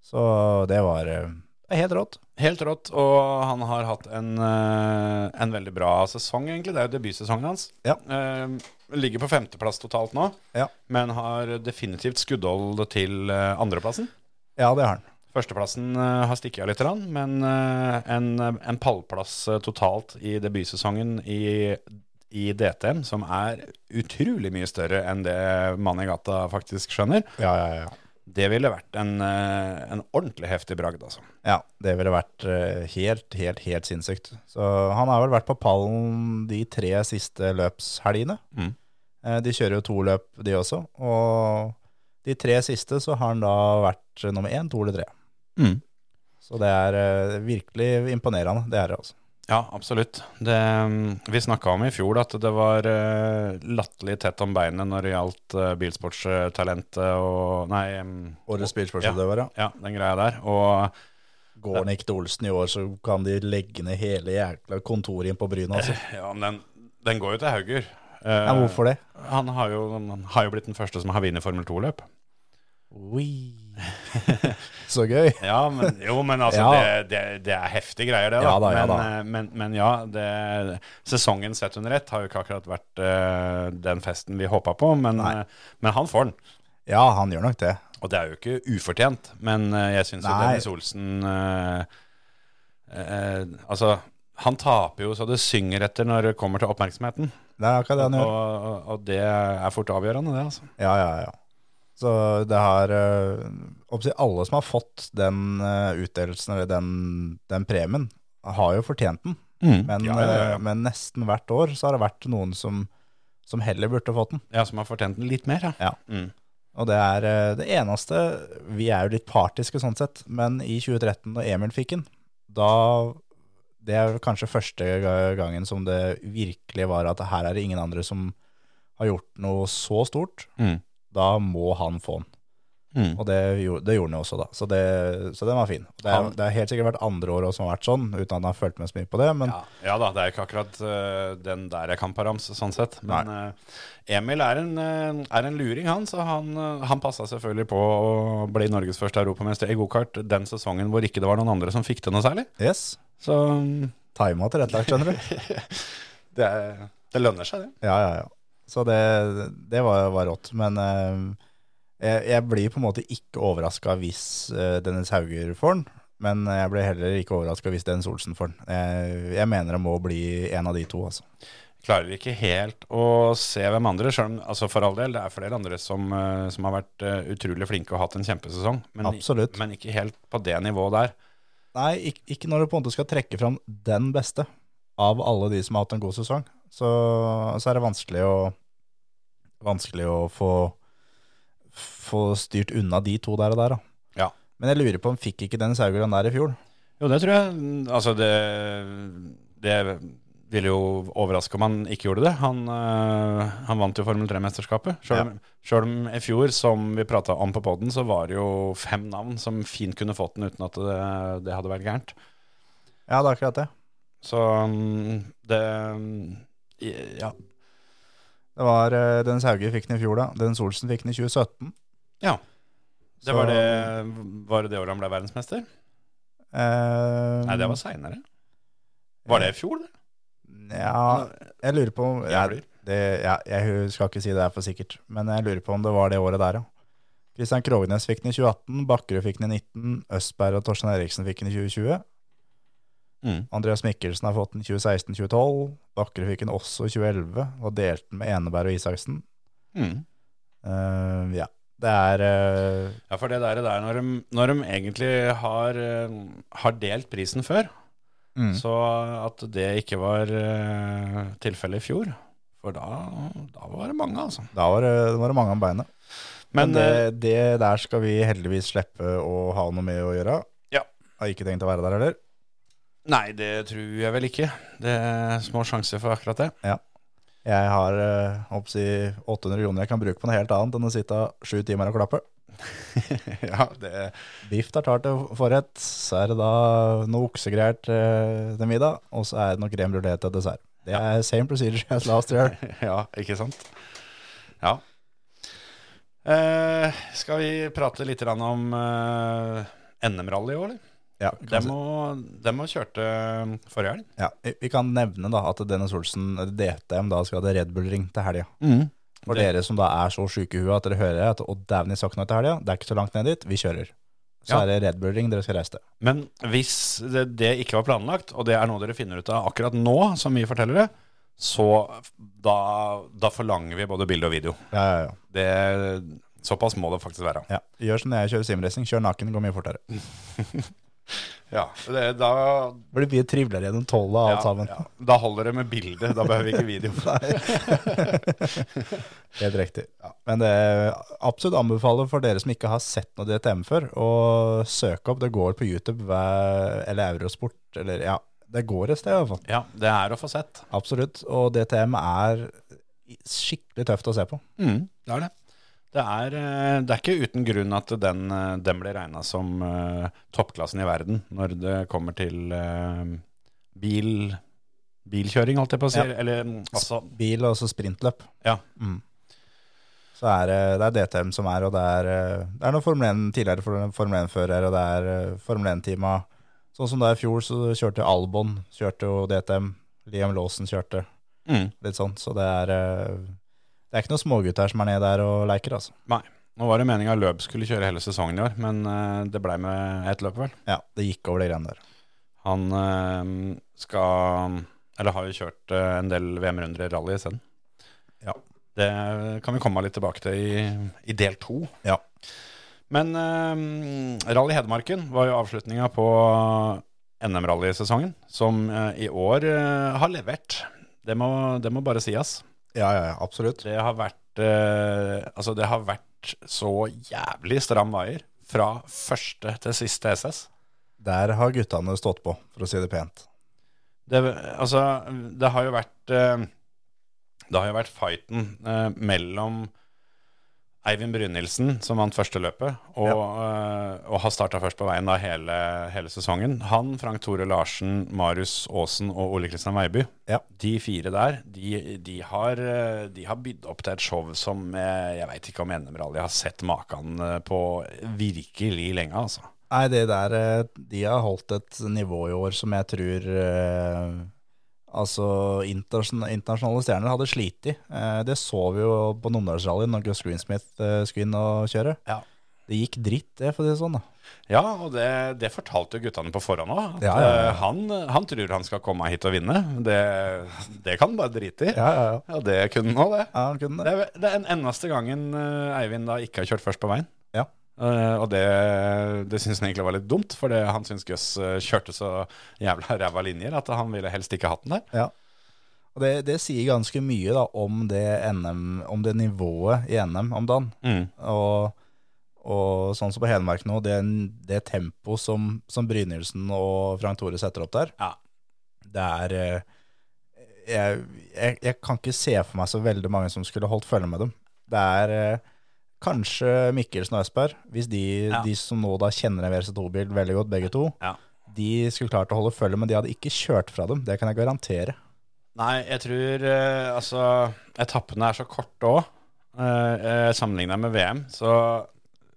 Speaker 4: Så det var eh, det er helt rått.
Speaker 3: Helt rått. Og han har hatt en, eh, en veldig bra sesong, egentlig. Det er jo debutsesongen hans.
Speaker 4: Ja.
Speaker 3: Eh, ligger på femteplass totalt nå,
Speaker 4: Ja.
Speaker 3: men har definitivt skuddhold til eh, andreplassen.
Speaker 4: Ja, det har han.
Speaker 3: Førsteplassen eh, har stikket av litt, grann, men eh, en, en pallplass eh, totalt i debutsesongen i, i DTM, som er utrolig mye større enn det mannen i gata faktisk skjønner,
Speaker 4: Ja, ja, ja.
Speaker 3: det ville vært en, eh, en ordentlig heftig bragd, altså.
Speaker 4: Ja, det ville vært eh, helt, helt, helt sinnssykt. Så han har vel vært på pallen de tre siste løpshelgene.
Speaker 3: Mm.
Speaker 4: Eh, De kjører jo to løp, de også. Og de tre siste så har han da vært nummer én, to eller tre.
Speaker 3: Mm.
Speaker 4: Så det er eh, virkelig imponerende, det er det altså.
Speaker 3: Ja, absolutt. Det, mm, vi snakka om i fjor at det var uh, latterlig tett om beinet når det gjaldt uh, bilsportstalentet og Nei, mm,
Speaker 4: Årets
Speaker 3: ja.
Speaker 4: bilsportsutøver, ja.
Speaker 3: ja, den greia der. Og
Speaker 4: Går han ikke til Olsen i år, så kan de legge ned hele jækla kontoret inn på Bryne, altså.
Speaker 3: ja, men den, den går jo til Hauger. Eh,
Speaker 4: Ja, hvorfor det?
Speaker 3: han, har jo, han har jo blitt den første som har vunnet Formel 2-løp.
Speaker 4: Så gøy.
Speaker 3: Ja, men, jo, men altså,
Speaker 4: Ja.
Speaker 3: det, det, det er heftige greier, det. da.
Speaker 4: Ja da, ja
Speaker 3: men,
Speaker 4: da.
Speaker 3: eh, Men, men ja, det, sesongen sett under ett har jo ikke akkurat vært eh, den festen vi håpa på, men,
Speaker 4: Nei.
Speaker 3: eh, men han får den.
Speaker 4: Ja, han gjør nok det.
Speaker 3: Og det er jo ikke ufortjent, men eh, jeg syns jo
Speaker 4: Nei.
Speaker 3: Dennis Olsen eh, eh, Altså, han taper jo så det synger etter når det kommer til oppmerksomheten.
Speaker 4: Det er akkurat det han
Speaker 3: Og,
Speaker 4: gjør.
Speaker 3: og det er fort avgjørende, det, altså.
Speaker 4: Ja, ja, ja. Så det har eh, oppsi- Alle som har fått den eh, utdelelsen eller den, den premien, har jo fortjent den.
Speaker 3: Mm.
Speaker 4: Men,
Speaker 3: ja, ja, ja.
Speaker 4: eh, men nesten hvert år så har det vært noen som, som heller burde fått den.
Speaker 3: ja, som har fortjent den litt mer,
Speaker 4: Ja.
Speaker 3: Mm.
Speaker 4: Og det er eh, det eneste Vi er jo litt partiske sånn sett, men i 2013, da Emil fikk den, da Det er vel kanskje første ga- gangen som det virkelig var at her er det ingen andre som har gjort noe så stort.
Speaker 3: Mm.
Speaker 4: Da må han få den.
Speaker 3: Mm.
Speaker 4: Og det gjorde, det gjorde han jo også, da. Så, det, så den var fin. Det, er,
Speaker 3: Han-
Speaker 4: det har helt sikkert vært andre år også som har vært sånn, uten at han har fulgt med så mye på det. Men
Speaker 3: Ja. ja da, det er jo ikke akkurat eh, den der jeg kan på rams, sånn sett. Men eh, Emil er en, eh, er en luring, han. Så han, uh, han passa selvfølgelig på å bli Norges første europamester i gokart den sesongen hvor ikke det var noen andre som fikk til noe særlig.
Speaker 4: yes,
Speaker 3: Så mm,
Speaker 4: tima tilrettelagt, skjønner du.
Speaker 3: det, er- det lønner seg, det.
Speaker 4: Ja, ja, ja. Så det, det var, var rått. Men eh, jeg, jeg blir på en måte ikke overraska hvis eh, Dennis Hauger får den. Men jeg blir heller ikke overraska hvis Dennis Olsen får den. Jeg, jeg mener det må bli en av de to, altså.
Speaker 3: Klarer ikke helt å se hvem andre, selv om altså for all del, det er flere andre som, eh, som har vært eh, utrolig flinke og hatt en kjempesesong. Men,
Speaker 4: Absolutt.
Speaker 3: men ikke helt på det nivået der.
Speaker 4: Nei, ikke, ikke når du på en måte skal trekke fram den beste av alle de som har hatt en god sesong. Så, så er det vanskelig å, vanskelig å få, få styrt unna de to der og der. Da.
Speaker 3: Ja.
Speaker 4: Men jeg lurer på om fikk ikke Dennis Hauger den der i fjor?
Speaker 3: Jo, det tror jeg. Altså, det, det ville jo overraske om han ikke gjorde det. Han, øh, han vant jo Formel 3-mesterskapet. Sjøl om, selv om i fjor, som vi prata om på poden, så var det jo fem navn som fint kunne fått den uten at det, det hadde vært gærent.
Speaker 4: Ja, det er akkurat det.
Speaker 3: Så mm, det Ja.
Speaker 4: Det var eh, Dennis Hauger fikk den i fjor, da. Dennis Olsen fikk den i 2017.
Speaker 3: ja. Det
Speaker 4: Så-
Speaker 3: var, det, var det det året han ble verdensmester?
Speaker 4: Eh,
Speaker 3: Nei, det var seinere. Var det i fjor, det?
Speaker 4: Ja, jeg lurer på om- ja,
Speaker 3: Jeg blir.
Speaker 4: det, ja, Jeg skal ikke si det er for sikkert, men jeg lurer på om det var det året der, ja. Kristian Krognes fikk den i 2018, Bakkerud fikk den i 19, Østberg og Torstein Eriksen fikk den i 2020.
Speaker 3: Mm.
Speaker 4: Andreas Mikkelsen har fått den i 2016-2012, Bakkerud fikk den også i 2011, og delte den med Eneberg og Isaksen.
Speaker 3: Mm.
Speaker 4: Eh, ja, det er eh,
Speaker 3: Ja, for det der, det er når de, når de egentlig har, eh, har delt prisen før,
Speaker 4: mm.
Speaker 3: så at det ikke var eh, tilfellet i fjor. For da, da var det mange, altså.
Speaker 4: Da var det, var det mange om beinet. Men,
Speaker 3: Men, eh,
Speaker 4: det, det der skal vi heldigvis slippe å ha noe med å gjøre.
Speaker 3: Ja.
Speaker 4: Har ikke tenkt å være der heller.
Speaker 3: nei, det tror jeg vel ikke. Det er små sjanser for akkurat det.
Speaker 4: Jeg har eh, oppsi 800 kroner jeg kan bruke på noe helt annet enn å sitte sju timer og klappe.
Speaker 3: ja, det,
Speaker 4: Biff tartar til forrett, så er det da noe oksegreier til til middag, og så er det noe crème brulé til dessert. Det er same procedure as last year.
Speaker 3: ja, ikke sant? Ja. Eh, skal vi prate litt grann om eh, NM-rally i år, eller?
Speaker 4: Ja,
Speaker 3: Dem og, dem og kjørte um, forrige helg.
Speaker 4: ja, vi- vi kan nevne da at Dennis Olsen, eller DTM, da skal det Red Bull Ring til helga.
Speaker 3: Mm.
Speaker 4: For
Speaker 3: Det-
Speaker 4: dere som da er så syke i huet at dere hører at å dæven i sokkene til helga, det er ikke så langt ned dit, vi kjører. Så
Speaker 3: Ja.
Speaker 4: er det Red Bull Ring dere skal reise til.
Speaker 3: Men hvis det, det ikke var planlagt, og det er noe dere finner ut av akkurat nå, som vi forteller det, så da, da forlanger vi både bilde og video.
Speaker 4: Ja, ja, ja.
Speaker 3: Det, såpass må det faktisk være.
Speaker 4: ja. Gjør som jeg kjører simracing, kjør naken, går mye fortere.
Speaker 3: Ja, det, da,
Speaker 4: Blir mye triveligere gjennom tolvet av alt
Speaker 3: ja,
Speaker 4: sammen.
Speaker 3: ja. da holder det med bilde, da behøver vi ikke video.
Speaker 4: Helt riktig. Men det absolutt anbefaler for dere som ikke har sett noe DTM før, å søke opp. Det går på YouTube hver- eller Eurosport, eller ja, det går et sted i hvert fall.
Speaker 3: Ja, det er å få sett.
Speaker 4: Absolutt. Og DTM er skikkelig tøft å se på.
Speaker 3: Mm, det er det. Det er, eh, det er ikke uten grunn at den, eh, den blir regna som eh, toppklassen i verden når det kommer til eh, bil, bilkjøring, holdt jeg på å si.
Speaker 4: Ja.
Speaker 3: Eller mm, altså
Speaker 4: Bil og så sprintløp.
Speaker 3: Ja.
Speaker 4: Mm. Så er det, det er DTM som er, og det er, eh, det er noen Formel 1 tidligere for- Formel 1-fører, og det er eh, Formel 1-teama. Sånn som da i fjor, så kjørte Albon, kjørte jo DTM. Liam Lawson kjørte,
Speaker 3: mm.
Speaker 4: litt sånn. Så det er, eh, det er ikke noen smågutter som er nede der og leker, altså.
Speaker 3: Nei. Nå var det meninga løp skulle kjøre hele sesongen i år, men eh, det blei med ett løp, vel.
Speaker 4: Ja, det gikk over de greiene der.
Speaker 3: Han eh, skal Eller har jo kjørt eh, en del VM-runder i rally isteden.
Speaker 4: Ja.
Speaker 3: Det kan vi komme litt tilbake til i, i del to.
Speaker 4: Ja.
Speaker 3: Men eh, Rally Hedmarken var jo avslutninga på eh, NM-rallysesongen, som eh, i år eh, har levert. Det må, det må bare sies.
Speaker 4: Ja, ja, ja, absolutt.
Speaker 3: Det har vært eh, Altså, det har vært så jævlig stram veier fra første til siste SS.
Speaker 4: Der har guttene stått på, for å si det pent.
Speaker 3: Det, altså, det har jo vært eh, Det har jo vært fighten eh, mellom Eivind Brynildsen, som vant første løpet, og, eh, og har starta først på veien da hele, hele sesongen. Han, Frank Tore Larsen, Marius Aasen og Ole Kristian Veiby,
Speaker 4: Ja.
Speaker 3: de fire der, de, de, har, eh, de har bydd opp til et show som eh, jeg veit ikke om NM-rally har sett maken eh, på virkelig lenge, altså.
Speaker 4: Nei, det der eh, De har holdt et nivå i år som jeg tror eh, Altså, internasjon- internasjonale stjerner hadde slitt i. Eh, det så vi jo på Numedalsrallyen når Gus Greensmith eh, skulle inn og kjøre.
Speaker 3: Ja.
Speaker 4: Det gikk dritt, det, for å si det sånn. da.
Speaker 3: Ja, og det, det fortalte jo guttene på forhånd òg.
Speaker 4: Ja, ja, ja.
Speaker 3: Han, han tror han skal komme hit og vinne. Det, det kan han bare drite i. Ja,
Speaker 4: ja, ja.
Speaker 3: det kunne han òg, det.
Speaker 4: Ja, han kunne
Speaker 3: Det
Speaker 4: det.
Speaker 3: er, det er den eneste gangen eh, Eivind da ikke har kjørt først på veien.
Speaker 4: Ja.
Speaker 3: Eh, og det, det syns han egentlig var litt dumt, for det, han syns Gus eh, kjørte så jævla ræva linjer at han ville helst ikke hatt den der.
Speaker 4: Og det, det sier ganske mye da, om, det NM, om det nivået i NM om dagen. Og, og sånn som på Hedmark nå, det, det tempo som, som Brynildsen og Frank Tore setter opp der,
Speaker 3: Ja.
Speaker 4: det er eh, jeg, jeg, jeg kan ikke se for meg så veldig mange som skulle holdt følge med dem. Det er eh, kanskje Mikkelsen og Østberg, hvis de,
Speaker 3: Ja.
Speaker 4: de som nå da kjenner en VRC2-bil veldig godt, begge to,
Speaker 3: Ja.
Speaker 4: de skulle klart å holde følge, men de hadde ikke kjørt fra dem. Det kan jeg garantere.
Speaker 3: Nei, jeg tror eh, altså Etappene er så korte òg. Eh, Sammenligna med VM, så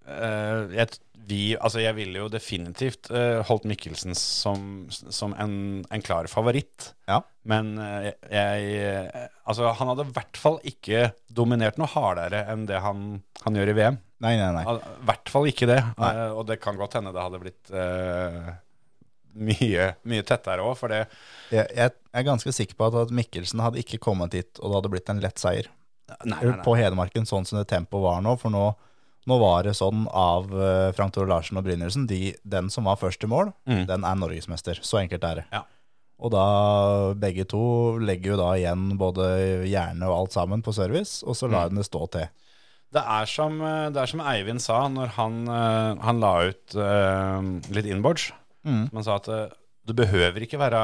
Speaker 3: eh, jeg, t- vi, altså jeg ville jo definitivt eh, holdt Mikkelsen som, som en, en klar favoritt.
Speaker 4: Ja.
Speaker 3: Men eh, jeg eh, Altså, han hadde i hvert fall ikke dominert noe hardere enn det han, han gjør i VM.
Speaker 4: Nei, nei, nei.
Speaker 3: Al- I hvert fall ikke det.
Speaker 4: Nei.
Speaker 3: Eh, og det kan godt hende det hadde blitt eh, mye, mye tettere òg, for det
Speaker 4: Jeg, jeg er ganske sikker på at, at Mikkelsen hadde ikke kommet hit, og det hadde blitt en lett seier
Speaker 3: Nei, nei, nei.
Speaker 4: på Hedmarken, sånn som det tempoet var nå. For nå, nå var det sånn av eh, Frank Tore Larsen og Brynildsen de, Den som var først i mål,
Speaker 3: Mm.
Speaker 4: den er norgesmester. Så enkelt er det.
Speaker 3: Ja.
Speaker 4: Og da begge to legger jo da igjen både hjerne og alt sammen på service, og så
Speaker 3: Mm.
Speaker 4: lar en det stå til.
Speaker 3: Det er som, eh, det er som Eivind sa når han, eh, han la ut eh, litt inboards.
Speaker 4: Mm.
Speaker 3: Som han sa at eh, du behøver ikke være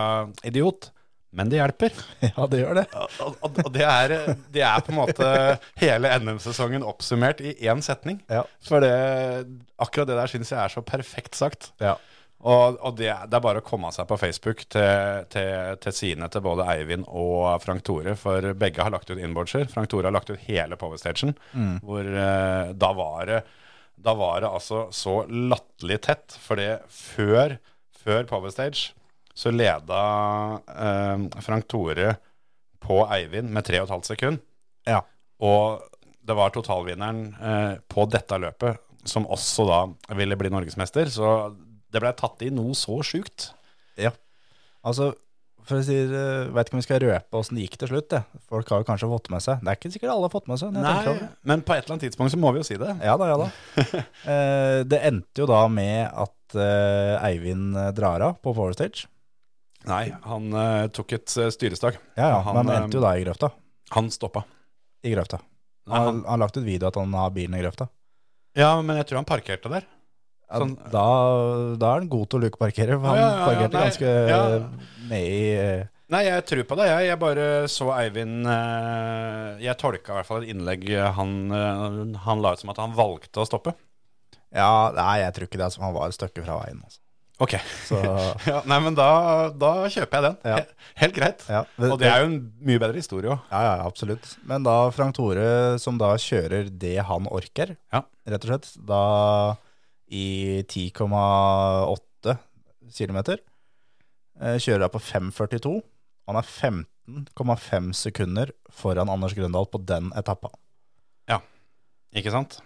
Speaker 3: idiot, men det hjelper.
Speaker 4: Ja, det gjør det.
Speaker 3: Og, og, og det, er, eh, det er på en måte hele NM-sesongen oppsummert i én setning.
Speaker 4: Ja.
Speaker 3: For det, akkurat det der syns jeg er så perfekt sagt.
Speaker 4: Ja.
Speaker 3: Og, og det, det er bare å komme seg på Facebook til, til, til sidene til både Eivind og Frank Tore, for begge har lagt ut inboarder. Frank Tore har lagt ut hele Powerstagen, hvor eh, da var det da var det altså så latterlig tett, for det før, før Powerstage så leda eh, Frank Tore på Eivind med 3,5 sekund.
Speaker 4: Ja.
Speaker 3: Og det var totalvinneren eh, på dette løpet som også da ville bli norgesmester. Så det ble tatt i noe så sjukt.
Speaker 4: Ja. Altså, for å si det, vet ikke om vi skal røpe åssen det gikk til slutt. Det. Folk har jo kanskje fått med seg. Det er ikke sikkert alle har fått med seg. når jeg tenker over det.
Speaker 3: Men på et eller annet tidspunkt så må vi jo si det.
Speaker 4: Ja da, ja da. Eh, det endte jo da med at eh, Eivind eh, drar av på Forward Stage.
Speaker 3: Nei, han eh, tok et eh, styrestak.
Speaker 4: Ja, ja,
Speaker 3: Han,
Speaker 4: men han endte jo
Speaker 3: eh,
Speaker 4: da i grøfta.
Speaker 3: Han stoppa.
Speaker 4: I grøfta.
Speaker 3: Nei,
Speaker 4: Han,
Speaker 3: han-
Speaker 4: han har lagt ut video at han har bilen i grøfta.
Speaker 3: Ja, men jeg tror han parkerte der.
Speaker 4: Ja,
Speaker 3: Sånn-
Speaker 4: Da, da er han god til å lukeparkere,
Speaker 3: Ja,
Speaker 4: for han
Speaker 3: ja, ja,
Speaker 4: parkerte
Speaker 3: nei,
Speaker 4: ganske
Speaker 3: ja.
Speaker 4: ned i eh,
Speaker 3: Nei, jeg tror på det. Jeg, jeg bare så Eivind eh, Jeg tolka i hvert fall et innlegg han, eh, han la ut som at han valgte å stoppe.
Speaker 4: Ja, nei, jeg tror ikke det. Altså, han var et stykke fra veien. Altså.
Speaker 3: Ok.
Speaker 4: Så,
Speaker 3: Ja, nei, men da, da kjøper jeg den.
Speaker 4: Ja.
Speaker 3: He- Helt greit.
Speaker 4: ja.
Speaker 3: Og det er jo en mye bedre historie òg.
Speaker 4: Ja, ja, absolutt. Men da Frank Tore, som da kjører det han orker,
Speaker 3: Ja.
Speaker 4: rett og slett, da i 10,8 km, eh, kjører da på 5,42. Han er 15,5 sekunder foran Anders Grøndal på den etappa.
Speaker 3: Ikke sant?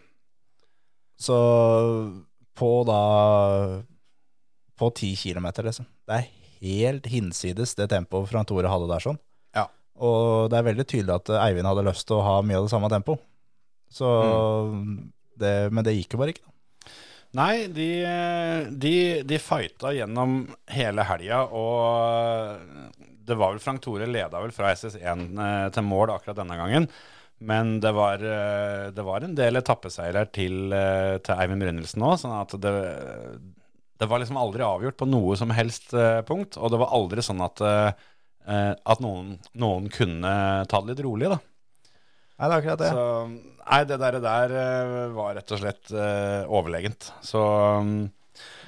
Speaker 4: Så på da på 10 km, liksom. Det er helt hinsides det tempoet Frank Tore hadde der sånn.
Speaker 3: Ja.
Speaker 4: Og det er veldig tydelig at eh, Eivind hadde lyst til å ha mye av det samme tempo. Så, det, men det gikk jo bare ikke.
Speaker 3: Nei, de, de, de fighta gjennom hele helga, og det var vel Frank Tore leda vel fra SS1 eh, til mål akkurat denne gangen. Men det var, eh, det var en del etappeseirer til, eh, til Eivind Brynildsen òg, sånn at det, det var liksom aldri avgjort på noe som helst eh, punkt. Og det var aldri sånn at, eh, eh, at noen, noen kunne ta det litt rolig, da.
Speaker 4: Nei, det er akkurat det.
Speaker 3: Så, nei, det der, der eh, var rett og slett eh, overlegent. Så um,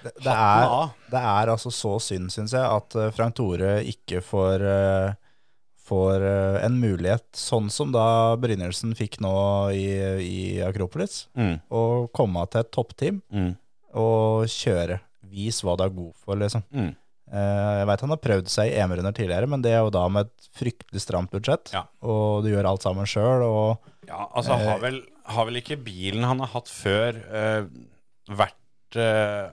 Speaker 4: det, det, er, det er altså så synd, syns jeg, at eh, Frank Tore ikke får, eh, får eh, en mulighet, sånn som da Brynildsen fikk nå i, i Akropolis,
Speaker 3: Mm.
Speaker 4: å komme til et toppteam
Speaker 3: Mm.
Speaker 4: og kjøre. Vis hva du er god for, liksom.
Speaker 3: Mm.
Speaker 4: Eh, Jeg veit han har prøvd seg i EM-runder tidligere, men det er jo da med et fryktelig stramt budsjett.
Speaker 3: Ja.
Speaker 4: Og du gjør alt sammen sjøl, og
Speaker 3: Ja, altså har vel, har vel ikke bilen han har hatt før eh, vært eh,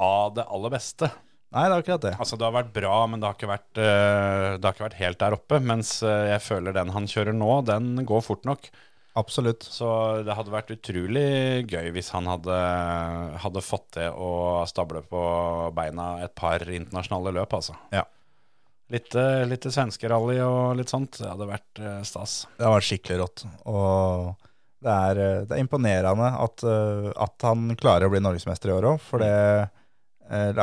Speaker 3: av det aller beste.
Speaker 4: Nei, det er akkurat det.
Speaker 3: Altså det har vært bra, men det har ikke vært, eh, det har ikke vært helt der oppe. Mens eh, jeg føler den han kjører nå, den går fort nok.
Speaker 4: Absolutt.
Speaker 3: Så det hadde vært utrolig gøy hvis han hadde, hadde fått til å stable på beina et par internasjonale løp, altså.
Speaker 4: Ja.
Speaker 3: Litt, eh, litt svenskerally og litt sånt. Det hadde vært eh, stas.
Speaker 4: Det har vært skikkelig rått. Og det er, eh, det er imponerende at, eh, at han klarer å bli norgesmester i år òg. For det eh,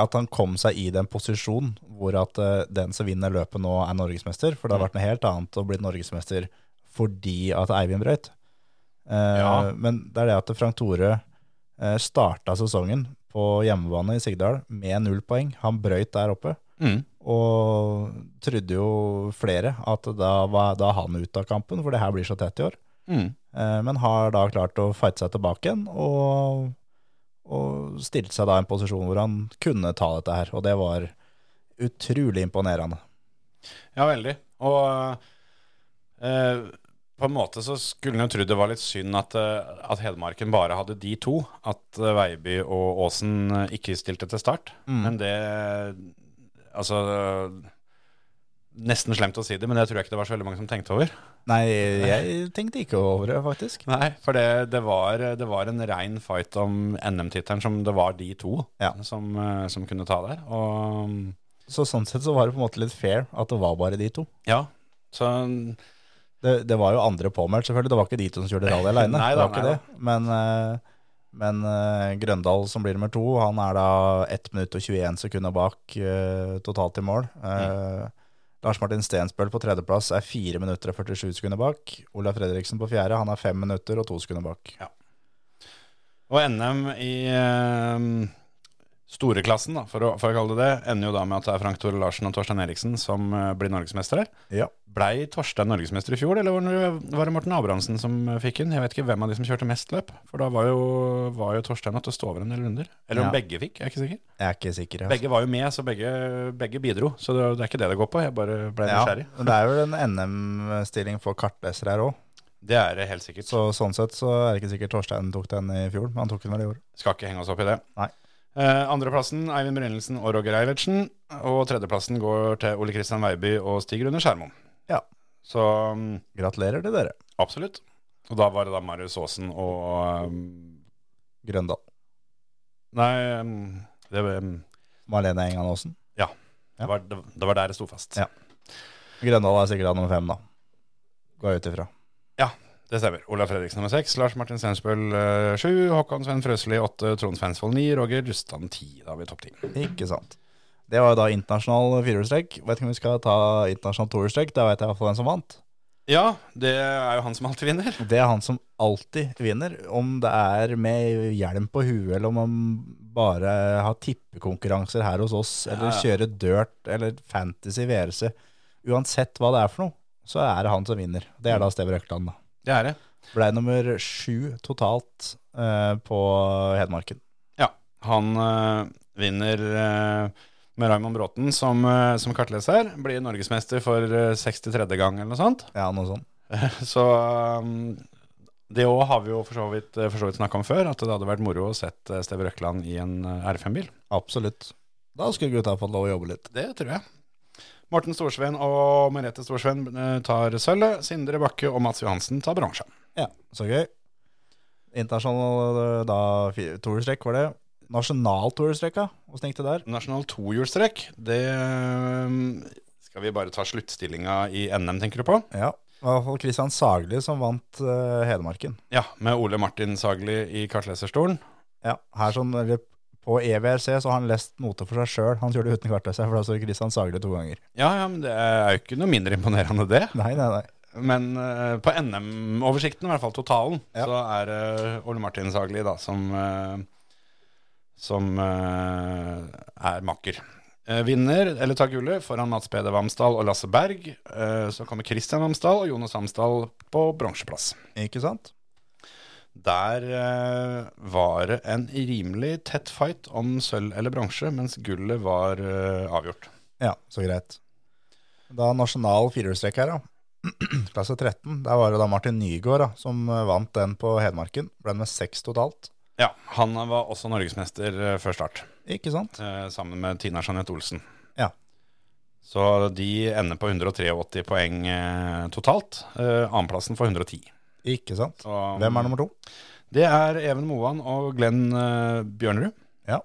Speaker 4: at han kom seg i den posisjon hvor at eh, den som vinner løpet nå, er norgesmester. For det har vært noe helt annet å bli norgesmester fordi at Eivind brøyt. Eh,
Speaker 3: Ja.
Speaker 4: Men det er det at Frank Tore eh, starta sesongen på hjemmebane i Sigdal med null poeng. Han brøyt der oppe.
Speaker 3: Mm,
Speaker 4: Og trodde jo flere at da var da er han ute av kampen, for det her blir så tett i år.
Speaker 3: Mm.
Speaker 4: Eh, Men har da klart å fighte seg tilbake igjen, og, og stilte seg da i en posisjon hvor han kunne ta dette her. Og det var utrolig imponerende.
Speaker 3: Ja, veldig. Og eh, på en måte så skulle en jo trodd det var litt synd at, eh, at Hedmarken bare hadde de to. At eh, Veiby og Åsen eh, ikke stilte til start. Men det Altså eh, Nesten slemt å si det, men det tror jeg ikke det var så veldig mange som tenkte over.
Speaker 4: Nei, jeg tenkte ikke over det, faktisk.
Speaker 3: Nei, for det, det, var, det var en rein fight om NM-tittelen som det var de to
Speaker 4: Ja.
Speaker 3: som, eh, som kunne ta der. Og
Speaker 4: Så sånn sett så var det på en måte litt fair at det var bare de to.
Speaker 3: ja, så
Speaker 4: Det, det var jo andre påmeldt, selvfølgelig. Det var ikke de to som kjørte rally aleine.
Speaker 3: Nei
Speaker 4: Det
Speaker 3: da,
Speaker 4: var ikke
Speaker 3: nei
Speaker 4: det. Men, eh, men eh, Grøndal, som blir nummer to, han er da 1 minutt og 21 sekunder bak eh, totalt i mål. Eh, Lars Martin Stensbøl på tredjeplass er 4 minutter og 47 sekunder bak. Olav Fredriksen på fjerde, han er 5 minutter og 2 sekunder bak.
Speaker 3: Og NM i eh, storeklassen, da, for, å, for å kalle det det, ender jo da med at det er Frank Tore Larsen og Torstein Eriksen som eh, blir norgesmestere.
Speaker 4: Ja.
Speaker 3: Blei Torstein norgesmester i fjor, eller var det- var det Morten Abrahamsen som eh, fikk den? Jeg vet ikke hvem av de som kjørte mest løp, for da var jo, var jo Torstein at det står over en del runder. Eller om
Speaker 4: Ja.
Speaker 3: begge fikk, jeg er ikke sikker.
Speaker 4: Jeg er ikke sikker. altså.
Speaker 3: Begge var jo med, så begge, begge bidro. Så det, det er ikke det det går på. Jeg bare ble
Speaker 4: Ja,
Speaker 3: nysgjerrig.
Speaker 4: men det er jo en NM-stilling for kartlesere her òg,
Speaker 3: Det er det helt sikkert.
Speaker 4: så sånn sett så er det ikke sikkert Torstein tok den i fjor, men han tok den vel i år.
Speaker 3: Skal ikke henge oss opp i det.
Speaker 4: Nei.
Speaker 3: Eh, andreplassen Eivind Brynildsen og Roger Eilertsen. Og tredjeplassen går til Ole Kristian Weiby og Stig Rune Skjermoen.
Speaker 4: Ja.
Speaker 3: Så mm,
Speaker 4: Gratulerer til dere,
Speaker 3: absolutt. Og da var det da Marius Aasen og mm,
Speaker 4: Grøndal.
Speaker 3: Nei, mm, det, mm,
Speaker 4: Marlene Engan Aasen. Ja.
Speaker 3: det, var, det, det var der det sto fast.
Speaker 4: Ja. Grøndal er sikkert da nummer fem, da. Går jeg ut ifra.
Speaker 3: Det stemmer. Olav Fredriksen nummer seks. Lars Martin Stensbøl eh, sju. Håkon Sven Frøsli åtte. Trond Svensvold ni. Roger Rustan ti. Da er vi topp ti.
Speaker 4: Ikke sant. Det var jo da internasjonal firehjulstrekk. Vet ikke om vi skal ta internasjonal tohjulstrekk. Da vet jeg i hvert fall hvem som vant.
Speaker 3: Ja, det er jo han som alltid vinner.
Speaker 4: Det er han som alltid vinner. Om det er med hjelm på huet, eller om han bare har tippekonkurranser her hos oss, eller
Speaker 3: ja.
Speaker 4: kjører dirt eller fantasy VRC. Uansett hva det er for noe, så er det han som vinner. Det er da Steve Røkland, da.
Speaker 3: Det er det.
Speaker 4: Blei nummer sju totalt eh, på Hedmarken.
Speaker 3: Ja, han eh, vinner eh, med Raymond Bråten som, eh, som kartleser. Blir norgesmester for eh, 63. gang eller noe sånt.
Speaker 4: Ja, noe sånt.
Speaker 3: Så um, det òg har vi jo for så vidt, eh, for så vidt snakka om før, at det hadde vært moro å sett eh, Steve Røkland i en eh, R5-bil.
Speaker 4: Absolutt. Da skulle gutta fått lov å jobbe litt.
Speaker 3: Det tror jeg. Morten Storsveen og Merete Storsveen eh, tar sølvet. Sindre Bakke og Mats Johansen tar bronse.
Speaker 4: Ja, så gøy. Internasjonal eh, da, fi- toerstrekk var det. Nasjonal toerstrekk, ja. Åssen gikk det der?
Speaker 3: Nasjonal tohjulstrekk, det eh, skal vi bare ta sluttstillinga i NM, tenker du på?
Speaker 4: Ja, i hvert fall Christian Sagli som vant eh, Hedmarken.
Speaker 3: Ja, med Ole Martin Sagli i kartleserstolen.
Speaker 4: Ja, her sånn, eller på E EVRC så har han lest noter for seg sjøl. Han kjørte uten kartleser, for da står Christian Sagli to ganger.
Speaker 3: Ja, ja, men det er jo ikke noe mindre imponerende det.
Speaker 4: Nei, nei, nei.
Speaker 3: Men eh, på NM-oversikten, i hvert fall totalen,
Speaker 4: Ja.
Speaker 3: så er det Ole Martin Sagli da, som, eh, som eh, er makker. Eh, vinner, eller tar gullet, foran Mats Peder Vamsdal og Lasse Berg. Eh, så kommer Kristian Vamsdal og Jonas Vamsdal på bronseplass.
Speaker 4: Ikke sant?
Speaker 3: Der eh, var det en rimelig tett fight om sølv eller bronse, mens gullet var eh, avgjort.
Speaker 4: Ja, så greit. Da nasjonal firehjulstrekk her, ja. Klasse 13. Der var det da Martin Nygaard da, som eh, vant den på Hedmarken. Ble med seks totalt.
Speaker 3: Ja, han var også norgesmester eh, før start.
Speaker 4: Ikke sant?
Speaker 3: eh, sammen med Tina Jeanette Olsen.
Speaker 4: Ja.
Speaker 3: Så de ender på 183 poeng eh, totalt. Eh, Annenplassen får 110.
Speaker 4: Ikke sant?
Speaker 3: Så-
Speaker 4: Hvem er nummer to?
Speaker 3: Det er Even Moan og Glenn eh, Bjørnerud.
Speaker 4: Ja.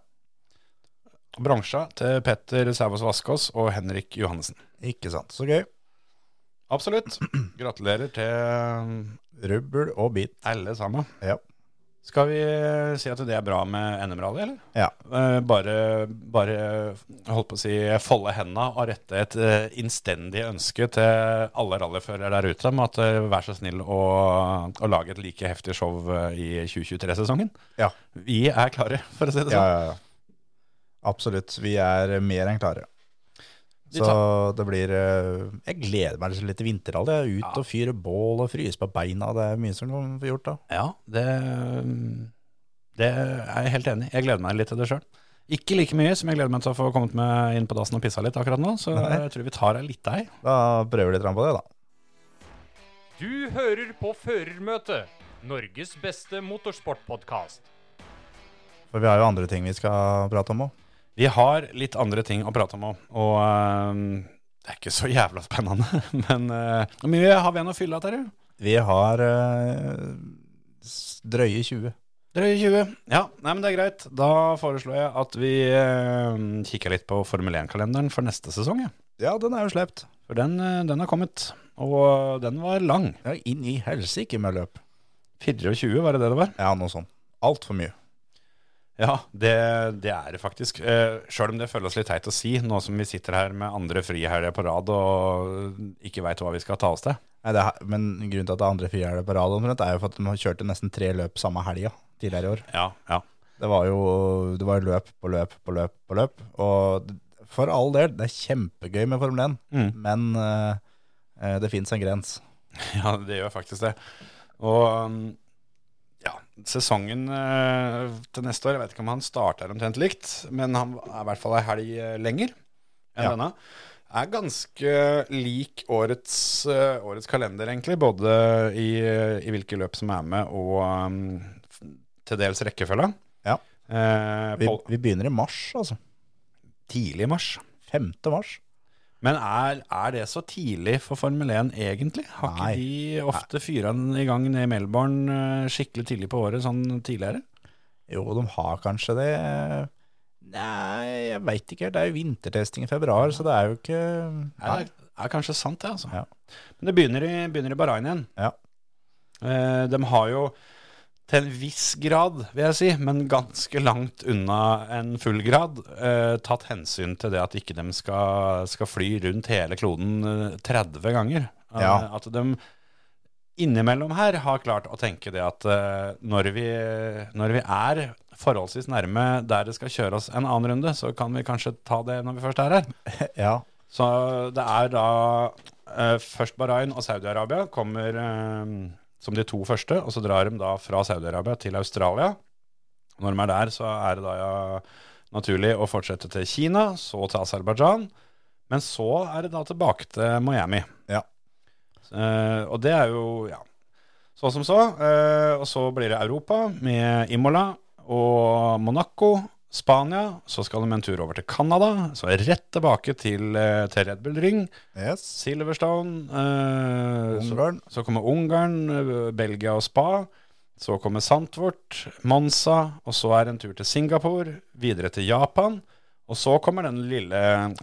Speaker 3: Bransja til Petter Sævaas Vaskås og Henrik Johannessen.
Speaker 4: Ikke sant? Så gøy.
Speaker 3: Absolutt. Gratulerer til eh,
Speaker 4: Rubbel og bit.
Speaker 3: alle sammen.
Speaker 4: Ja.
Speaker 3: Skal vi eh, si at det er bra med NM-rally, eller?
Speaker 4: Ja.
Speaker 3: Eh, Bare, bare holdt på å si folde henda og rette et eh, innstendig ønske til alle rallyførere der ute om at eh, vær så snill å, å lage et like heftig show eh, i 2023-sesongen.
Speaker 4: Ja.
Speaker 3: Vi er klare, for å si det
Speaker 4: Ja,
Speaker 3: sånn.
Speaker 4: ja, ja. Absolutt. Vi er mer enn klare.
Speaker 3: Vi
Speaker 4: Så det blir eh, Jeg gleder meg litt til vinterrally. Jeg er Ut og fyre bål og fryse på beina. Det er mye som kan få gjort da.
Speaker 3: Ja, det, mm, det er jeg helt enig i. Jeg gleder meg litt til det sjøl. Ikke like mye som jeg gleder meg til å få kommet meg inn på dassen og pissa litt akkurat nå, så
Speaker 4: Nei.
Speaker 3: jeg tror vi tar ei lita ei.
Speaker 4: Da prøver vi litt på det, da.
Speaker 5: Du hører på Førermøtet, Norges beste motorsportpodkast.
Speaker 4: For vi har jo andre ting vi skal prate om òg.
Speaker 3: Vi har litt andre ting å prate om òg, og eh, det er ikke så jævla spennende. Men eh, hvor mye har vi igjen å fylle av, Terje?
Speaker 4: Vi har eh, s- drøye 20.
Speaker 3: Drøye 20. Ja, nei, men det er greit. Da foreslår jeg at vi eh, kikker litt på Formel 1-kalenderen for neste sesong. Ja.
Speaker 4: Ja, den er jo slept.
Speaker 3: For den, eh, den har kommet, og den var lang.
Speaker 4: Ja, inn i helsike med løp.
Speaker 3: 24, var det det det var?
Speaker 4: Ja, noe sånt. Altfor mye.
Speaker 3: Ja, det, det er det faktisk. Eh, Sjøl om det føles litt teit å si, nå som vi sitter her med andre frihelger på rad og ikke veit hva vi skal ta oss til.
Speaker 4: Nei, det er, men grunnen til at det er andre frihelger på rad, omtrent, er jo for at de kjørte nesten tre løp samme helga tidligere i år.
Speaker 3: Ja, ja.
Speaker 4: Det var jo det var jo løp på løp på løp på løp. Og for all del, det er kjempegøy med Formel 1,
Speaker 3: Mm.
Speaker 4: men eh, eh, det fins en grens.
Speaker 3: Ja, det gjør faktisk det. Og um, ja, sesongen eh, til neste år, jeg vet ikke om han starter omtrent likt, men han er i hvert fall ei helg eh, lenger enn
Speaker 4: Ja.
Speaker 3: denne. Er ganske lik årets, eh, årets kalender, egentlig, både i, i hvilke løp som er med, og um, f- til dels rekkefølga.
Speaker 4: Ja.
Speaker 3: Eh,
Speaker 4: Vi,
Speaker 3: på
Speaker 4: vi begynner i mars, altså.
Speaker 3: tidlig mars.
Speaker 4: 5. mars.
Speaker 3: Men er, er det så tidlig for Formel 1 egentlig? Har
Speaker 4: Nei.
Speaker 3: ikke de ofte fyra den i gang ned i Melbourne eh, skikkelig tidlig på året sånn tidligere?
Speaker 4: Jo, de har kanskje det. Nei, jeg veit ikke helt. Det er jo vintertesting i februar, så det er jo ikke
Speaker 3: Er,
Speaker 4: Nei.
Speaker 3: det er kanskje sant det, altså.
Speaker 4: Ja.
Speaker 3: Men det begynner i, begynner i Bahrain igjen.
Speaker 4: Ja.
Speaker 3: Eh, de har jo til en viss grad, vil jeg si, men ganske langt unna en full grad, eh, tatt hensyn til det at ikke de skal, skal fly rundt hele kloden eh, 30 ganger. Eh,
Speaker 4: Ja.
Speaker 3: At de innimellom her har klart å tenke det at eh, når, vi, når vi er forholdsvis nærme der det skal kjøre oss en annen runde, så kan vi kanskje ta det når vi først er her.
Speaker 4: Ja.
Speaker 3: Så det er da eh, først Bahrain og Saudi-Arabia kommer eh, som de to første, og så drar de da fra Saudi-Arabia til Australia. Når de er der, så er det da ja, naturlig å fortsette til Kina, så til Aserbajdsjan, men så er det da tilbake til Miami.
Speaker 4: Ja.
Speaker 3: Eh, og det er jo, ja, Sånn så som så. Eh, og så blir det Europa med Imola og Monaco, Spania, så skal de en tur over til Canada, så rett tilbake til, eh, til Red Bull Ring,
Speaker 4: Yes.
Speaker 3: Silverstone, eh, så,
Speaker 4: Ungarn.
Speaker 3: så kommer Ungarn, eh, Belgia og Spa, så kommer Santvort, Monza, og så er det en tur til Singapore, videre til Japan, og så kommer den lille,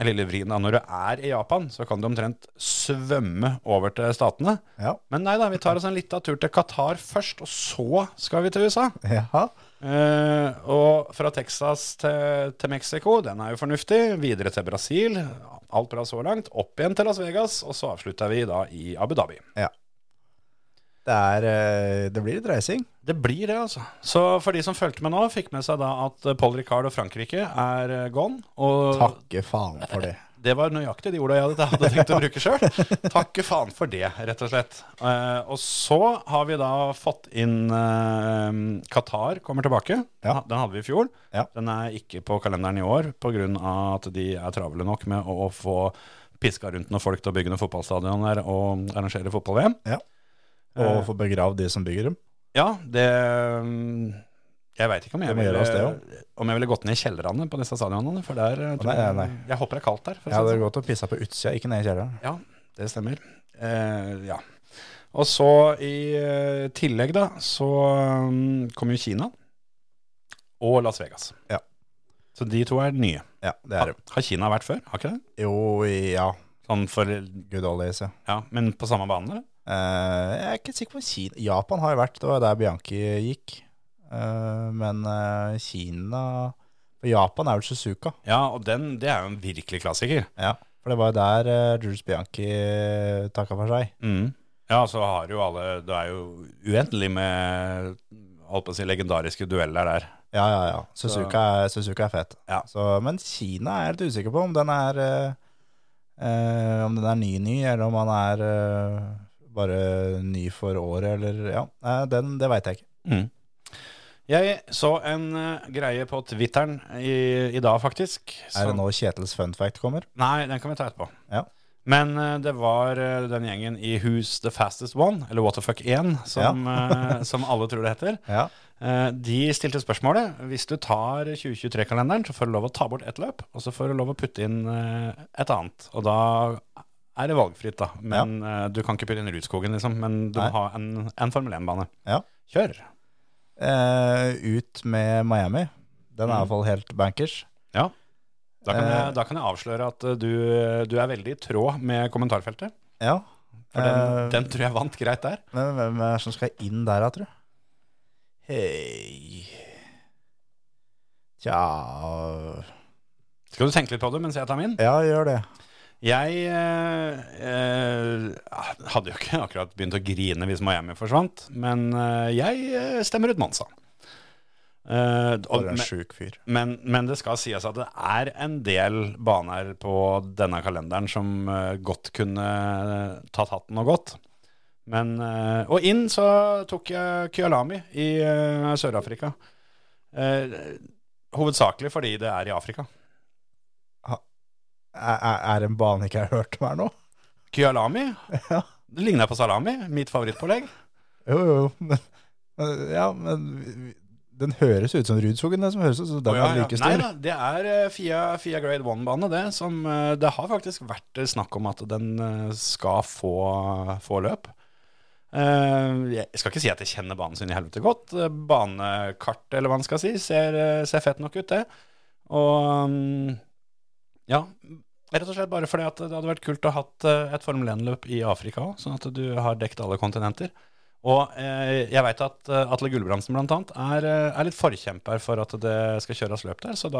Speaker 3: lille vrien da, når du er i Japan, så kan du omtrent svømme over til statene.
Speaker 4: Ja.
Speaker 3: Men nei da, vi tar oss en liten tur til Qatar først, og så skal vi til USA.
Speaker 4: Jaha.
Speaker 3: Eh, og fra Texas til, til Mexico, den er jo fornuftig. Videre til Brasil, alt bra så langt. Opp igjen til Las Vegas, og så avslutter vi da i Abu Dhabi.
Speaker 4: Det, er, eh, det blir litt reising.
Speaker 3: Det blir det, altså. Så for de som fulgte med nå, fikk med seg da at Paul Ricard og Frankrike er eh, gone. Og
Speaker 4: Takke faen for det.
Speaker 3: Det var nøyaktig de orda jeg hadde, hadde tenkt å bruke sjøl. Takke faen for det, rett og slett. Eh, og så har vi da fått inn eh, Qatar kommer tilbake.
Speaker 4: Ja.
Speaker 3: Den hadde vi i fjor.
Speaker 4: Ja.
Speaker 3: Den er ikke på kalenderen i år pga. at de er travle nok med å få piska rundt noen folk til å bygge noen fotballstadion der og arrangere fotball-VM.
Speaker 4: Og få begravd de som bygger dem.
Speaker 3: Ja, det mm, Jeg veit ikke om jeg,
Speaker 4: Det må gjøre oss det
Speaker 3: ville, om jeg ville gått ned i kjellerne på disse stadionene, for der eh, tror
Speaker 4: nei,
Speaker 3: jeg-
Speaker 4: nei.
Speaker 3: Jeg håper det er kaldt der. For å
Speaker 4: Jeg
Speaker 3: si det
Speaker 4: hadde
Speaker 3: sånn.
Speaker 4: gått og pissa på utsida, ikke ned i kjelleren.
Speaker 3: Ja, det stemmer. Eh, ja. Og så i eh, tillegg da, så um, kom jo Kina og Las Vegas.
Speaker 4: Ja.
Speaker 3: Så de to er nye.
Speaker 4: Ja, det er
Speaker 3: Har,
Speaker 4: det.
Speaker 3: har Kina vært før? Har ikke det?
Speaker 4: Jo, ja.
Speaker 3: Sånn for,
Speaker 4: Good old days, ja.
Speaker 3: ja, men på samme bane? eller?
Speaker 4: Eh, jeg er ikke sikker på om Kina Japan har jo vært, det var der Bianchi gikk. Eh, men eh, Kina Japan er vel Suzuka.
Speaker 3: Ja, og den, det er jo en virkelig klassiker.
Speaker 4: Ja. For det var jo der eh, Jules Bianchi uh, takka for seg.
Speaker 3: Mm. Ja, så har jo alle Det er jo uendelig med holdt på å si, legendariske dueller der.
Speaker 4: Ja, ja, ja. Suzuka, er- Suzuka er fet.
Speaker 3: Ja.
Speaker 4: Så, men Kina er jeg litt usikker på om den er eh, eh, Om den er ny-ny, eller om han er eh, bare ny for året, eller Ja, Nei, den, det veit jeg ikke.
Speaker 3: Jeg så en eh, greie på Twitteren i, i dag, faktisk.
Speaker 4: Er
Speaker 3: som-
Speaker 4: det nå Kjetils fun fact kommer?
Speaker 3: Nei, den kan vi ta etterpå.
Speaker 4: Ja.
Speaker 3: Men eh, det var eh, den gjengen i Who's the Fastest One, eller What the Fuck 1, som, eh, som alle tror det heter.
Speaker 4: Ja.
Speaker 3: Eh, de stilte spørsmålet hvis du tar 2023-kalenderen, så får du lov å ta bort ett løp, og så får du lov å putte inn eh, et annet. Og da er det valgfritt, da. Men eh, du kan ikke putte inn Rudskogen, liksom. Men du
Speaker 4: Nei.
Speaker 3: må ha en, en Formel 1-bane.
Speaker 4: Ja.
Speaker 3: Kjør.
Speaker 4: Eh, ut med Miami. Den
Speaker 3: Mm.
Speaker 4: er i hvert fall helt bankers.
Speaker 3: Da kan,
Speaker 4: Eh.
Speaker 3: jeg, da kan jeg avsløre at eh, du, du er veldig i tråd med kommentarfeltet.
Speaker 4: Ja.
Speaker 3: For den,
Speaker 4: Eh,
Speaker 3: den tror jeg vant greit der.
Speaker 4: Men hvem er det som skal inn der, da, tror du? Hei Tja
Speaker 3: Skal du tenke litt på det mens jeg tar min?
Speaker 4: Ja, gjør det.
Speaker 3: Jeg eh, eh, hadde jo ikke akkurat begynt å grine hvis Miami forsvant, men eh, jeg eh, stemmer ut Monza. Eh, og,
Speaker 4: For en
Speaker 3: men,
Speaker 4: sjuk fyr.
Speaker 3: men, men det skal sies at det er en del baner på denne kalenderen som eh, godt kunne eh, tatt hatten og gått. Men, eh, og inn så tok jeg Kyalami i eh, Sør-Afrika. Eh, hovedsakelig fordi det er i Afrika.
Speaker 4: Er, er- er det en bane ikke jeg har hørt om her nå?
Speaker 3: Kyalami,
Speaker 4: Ja.
Speaker 3: det ligner på salami, mitt favorittpålegg.
Speaker 4: Jo, jo, jo, men, men Ja, men vi- vi- Den høres ut som Rudskogen, den som høres ut som den
Speaker 3: Å, ja,
Speaker 4: er
Speaker 3: ja.
Speaker 4: like
Speaker 3: Nei
Speaker 4: stor.
Speaker 3: da, det er eh, FIA, FIA Grade 1-bane, det. Som, eh, det har faktisk vært eh, snakk om at den eh, skal få, få løp. Eh, Jeg skal ikke si at jeg kjenner banen sin i helvete godt. Eh, Banekartet, eller hva man skal si, ser, eh, ser fett nok ut, det. Og mm, ja, rett og slett bare fordi at det hadde vært kult å ha hatt eh, et Formel 1-løp i Afrika òg, sånn at du har dekt alle kontinenter. Og eh, jeg veit at eh, Atle Gulbrandsen blant annet er, eh, er litt forkjemper for at det skal kjøres løp der. Så da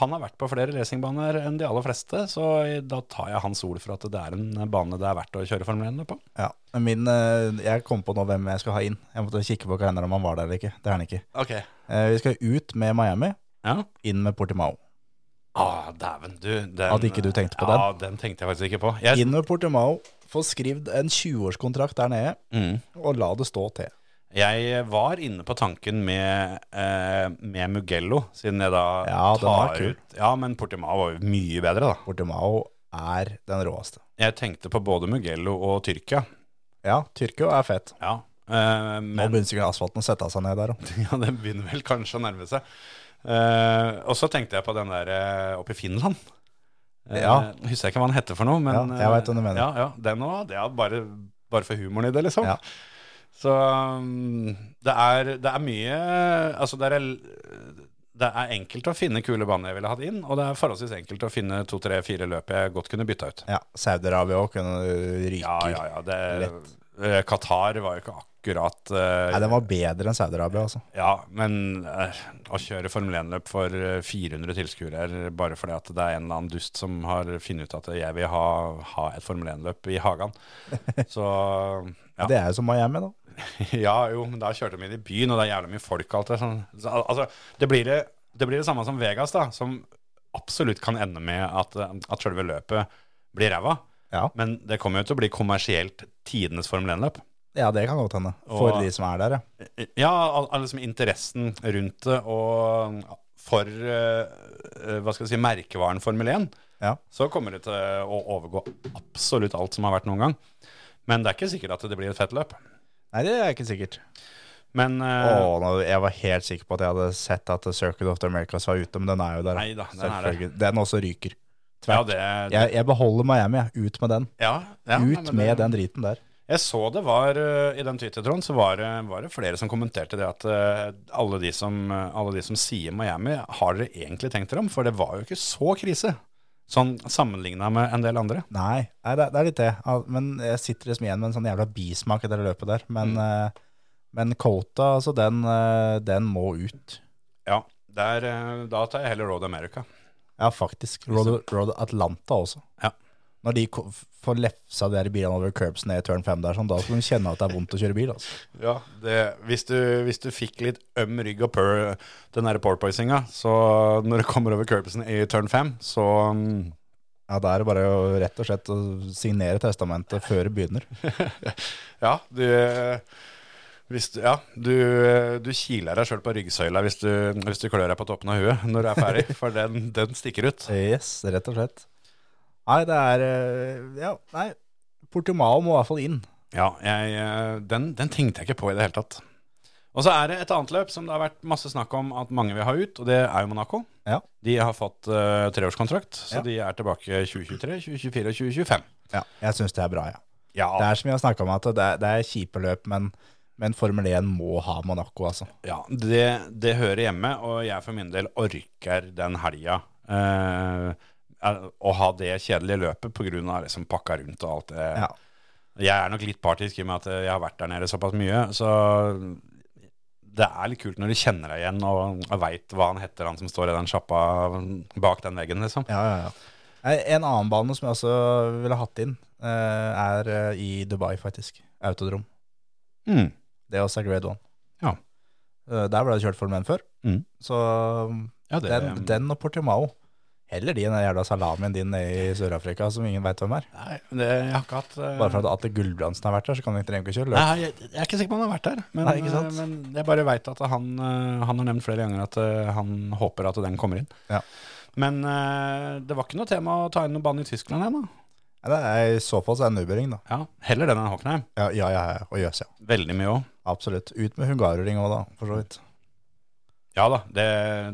Speaker 3: Han har vært på flere racingbaner enn de aller fleste, så i- da tar jeg hans ord for at det er en bane det er verdt å kjøre Formel 1 på.
Speaker 4: Ja, men min, eh, jeg kom på nå hvem jeg skal ha inn. Jeg måtte kikke på kalenderen om han var der eller ikke. Det er han ikke.
Speaker 3: Ok.
Speaker 4: Eh, Vi skal ut med Miami,
Speaker 3: Ja.
Speaker 4: inn med Portimao.
Speaker 3: Ah, dæven, du. Den,
Speaker 4: At ikke du tenkte på
Speaker 3: Ja, den tenkte jeg faktisk ikke på. Jeg,
Speaker 4: Inn med Portimao, få skrevet en 20-årskontrakt der nede,
Speaker 3: mm.
Speaker 4: og la det stå til.
Speaker 3: Jeg var inne på tanken med, eh, med Mugello, siden jeg da
Speaker 4: Ja, den var kul.
Speaker 3: ut Ja, men Portimao var jo mye bedre, da.
Speaker 4: Portimao er den råeste.
Speaker 3: Jeg tenkte på både Mugello og Tyrkia.
Speaker 4: Ja, Tyrkia er fett.
Speaker 3: Ja. eh,
Speaker 4: Nå
Speaker 3: men
Speaker 4: begynner sikkert asfalten å sette seg ned der. også.
Speaker 3: ja, det begynner vel kanskje å nærme seg. Eh, og så tenkte jeg på den der eh, oppe i Finland. Eh,
Speaker 4: Ja.
Speaker 3: Husker jeg ikke hva den heter for noe, men eh,
Speaker 4: Ja, jeg vet hva du mener.
Speaker 3: Ja, ja, den òg. Det er bare, bare for humoren i det, liksom.
Speaker 4: Ja.
Speaker 3: Så um, det, er, det er mye Altså, det er, l- det er enkelt å finne kule baner jeg ville hatt inn, og det er forholdsvis enkelt å finne to, tre, fire løp jeg godt kunne bytta ut.
Speaker 4: Ja, Saudi-Arabia òg kunne ryke.
Speaker 3: Ja, ja, ja. Det, eh, Qatar var jo ikke akkurat eh,
Speaker 4: Nei, den var bedre enn Saudi-Arabia, altså.
Speaker 3: Ja, men eh, å kjøre Formel 1-løp for eh, 400 tilskuere er bare fordi at det er en eller annen dust som har funnet ut at jeg vil ha, ha et Formel 1-løp i hagen. Så ja.
Speaker 4: Det er jo som Miami, da.
Speaker 3: ja, jo, men da kjørte de inn i byen, og det er jævlig mye folk og alt det sånn. Så, al- altså, det blir det, det blir det samme som Vegas, da, som absolutt kan ende med at, eh, at selve løpet blir ræva.
Speaker 4: Ja,
Speaker 3: Men det kommer jo til å bli kommersielt tidenes Formel 1-løp.
Speaker 4: ja det kan godt hende. For
Speaker 3: Og-
Speaker 4: de som er der, ja.
Speaker 3: Ja, al al- liksom interessen rundt det, og ja, for eh, eh, hva skal jeg si, merkevaren Formel 1,
Speaker 4: Ja.
Speaker 3: så kommer det til å overgå absolutt alt som har vært noen gang. Men det er ikke sikkert at det blir et fett løp.
Speaker 4: Nei, det er ikke sikkert.
Speaker 3: Men eh,
Speaker 4: Åh, nå, jeg var helt sikker på at jeg hadde sett at Circuit of the Americas var ute, men den er jo der.
Speaker 3: Nei da, den er der.
Speaker 4: Selvfølgelig. Den også ryker.
Speaker 3: ja,
Speaker 4: Tvert.
Speaker 3: det,
Speaker 4: Jeg, jeg beholder Miami, jeg. Ut med den.
Speaker 3: ja, ja, nei, men
Speaker 4: Ut
Speaker 3: det-
Speaker 4: med den driten der.
Speaker 3: Jeg så det var eh, i den Twitter-tråden, så var, det- var det flere som kommenterte det at eh, alle de som, alle de som sier Miami, har dere egentlig tenkt dere om? For det var jo ikke så krise, sånn sammenligna med en del andre.
Speaker 4: Nei, nei det, det er litt det. Al- Men jeg sitter liksom igjen med en sånn jævla bismak etter det løpet der. Men,
Speaker 3: Mm.
Speaker 4: eh, men Kota, altså, den, eh, den må ut.
Speaker 3: Ja, der, eh, da tar jeg heller Road America.
Speaker 4: Ja, faktisk. Road, Road Atlanta også.
Speaker 3: Ja.
Speaker 4: Når de ko- får lefsa de der bilene over curbs ned i turn 5 der, sånn, da skal de kjenne at det er vondt å kjøre bil. altså.
Speaker 3: Ja, det, hvis, du, hvis du fikk litt øm rygg og purr den derre porpoisinga, så når du kommer over curbsen i turn 5, så mm,
Speaker 4: Ja, Da er det bare å rett og slett å signere testamentet før det begynner.
Speaker 3: Ja, du hvis du, ja, du, du kiler deg sjøl på ryggsøyla hvis du, hvis du klør deg på toppen av huet når du er ferdig, for den, den stikker ut.
Speaker 4: Yes, rett og slett. Nei, det er eh, Ja, nei. Portimao må i hvert fall inn.
Speaker 3: Ja, jeg, eh, den, den tenkte jeg ikke på i det hele tatt. Og så er det et annet løp som det har vært masse snakk om at mange vil ha ut, og det er jo Monaco.
Speaker 4: Ja.
Speaker 3: De har fått eh, treårskontrakt, så
Speaker 4: Ja.
Speaker 3: de er tilbake 2023, 2024 og 2025.
Speaker 4: ja. Jeg syns det er bra, jeg. Ja.
Speaker 3: Ja,
Speaker 4: Det er som vi har snakka om, at det er, det er kjipe løp, men, men Formel 1 må ha Monaco, altså.
Speaker 3: ja det, det hører hjemme, og jeg for min del orker den helga eh, er- å ha det kjedelige løpet pga. liksom pakka rundt og alt det.
Speaker 4: Ja.
Speaker 3: Jeg er nok litt partisk i og med at eh, jeg har vært der nede såpass mye, så det er litt kult når du kjenner deg igjen og, og veit hva han heter, han som står i den sjappa bak den veggen, liksom.
Speaker 4: Ja, ja, ja. Nei, En annen bane som jeg også ville hatt inn, eh, er eh, i Dubai, faktisk. Autodrom.
Speaker 3: Mm.
Speaker 4: Det er også grade one.
Speaker 3: Ja.
Speaker 4: Eh, Der ble det kjørt Formel 1 før.
Speaker 3: Mm.
Speaker 4: Så um,
Speaker 3: Ja, det-
Speaker 4: den, den og Portimao. Heller de enn den jævla salamien din nede i Sør-Afrika som ingen veit hvem er.
Speaker 3: Nei, det, jeg har ikke hatt eh,
Speaker 4: Bare for at Atle Gulbrandsen har vært der, så kan du ikke trenger ikke å kjøre løp.
Speaker 3: Nei, jeg, jeg er ikke sikker på om han har vært der, men,
Speaker 4: Nei, ikke sant?
Speaker 3: eh, men jeg bare veit at han, eh, han har nevnt flere ganger at eh, han håper at den kommer inn.
Speaker 4: Ja.
Speaker 3: Men eh, det var ikke noe tema å ta inn noen bane i Tyskland ennå.
Speaker 4: Nei, Det er, I så fall så er det en Ubering, da.
Speaker 3: Ja, heller den enn Hockenheim.
Speaker 4: Ja, ja, ja. ja. Og Jøss, ja.
Speaker 3: Veldig mye òg.
Speaker 4: Absolutt. Ut med hungaroring òg, da, for så vidt.
Speaker 3: Ja da, det,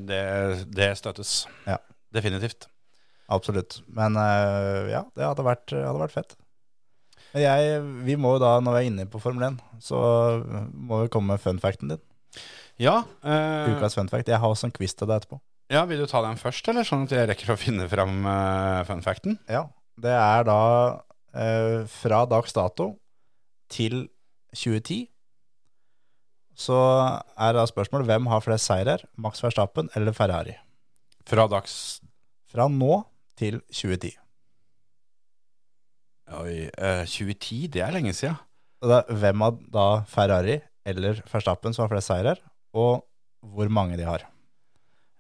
Speaker 3: det, det støttes.
Speaker 4: Ja.
Speaker 3: Definitivt.
Speaker 4: Absolutt. Men eh, ja, det hadde vært, hadde vært fett. Men jeg, vi må jo da, når vi er inne på Formel 1, så eh, må vi komme med funfacten din.
Speaker 3: Ja, eh,
Speaker 4: Ukas funfact. Jeg har også en quiz til deg etterpå.
Speaker 3: ja, vil du ta den først, eller sånn at jeg rekker å finne fram eh, fun facten?
Speaker 4: Ja, det er da eh, fra dags dato til 2010, så er da spørsmålet hvem har flest seirer, Max Verstappen eller Ferrari?
Speaker 3: Fra dags
Speaker 4: Fra nå til 2010.
Speaker 3: Oi, eh, 2010, det er lenge sia.
Speaker 4: Og da, hvem av da Ferrari eller Verstappen som har flest seirer, og hvor mange de har?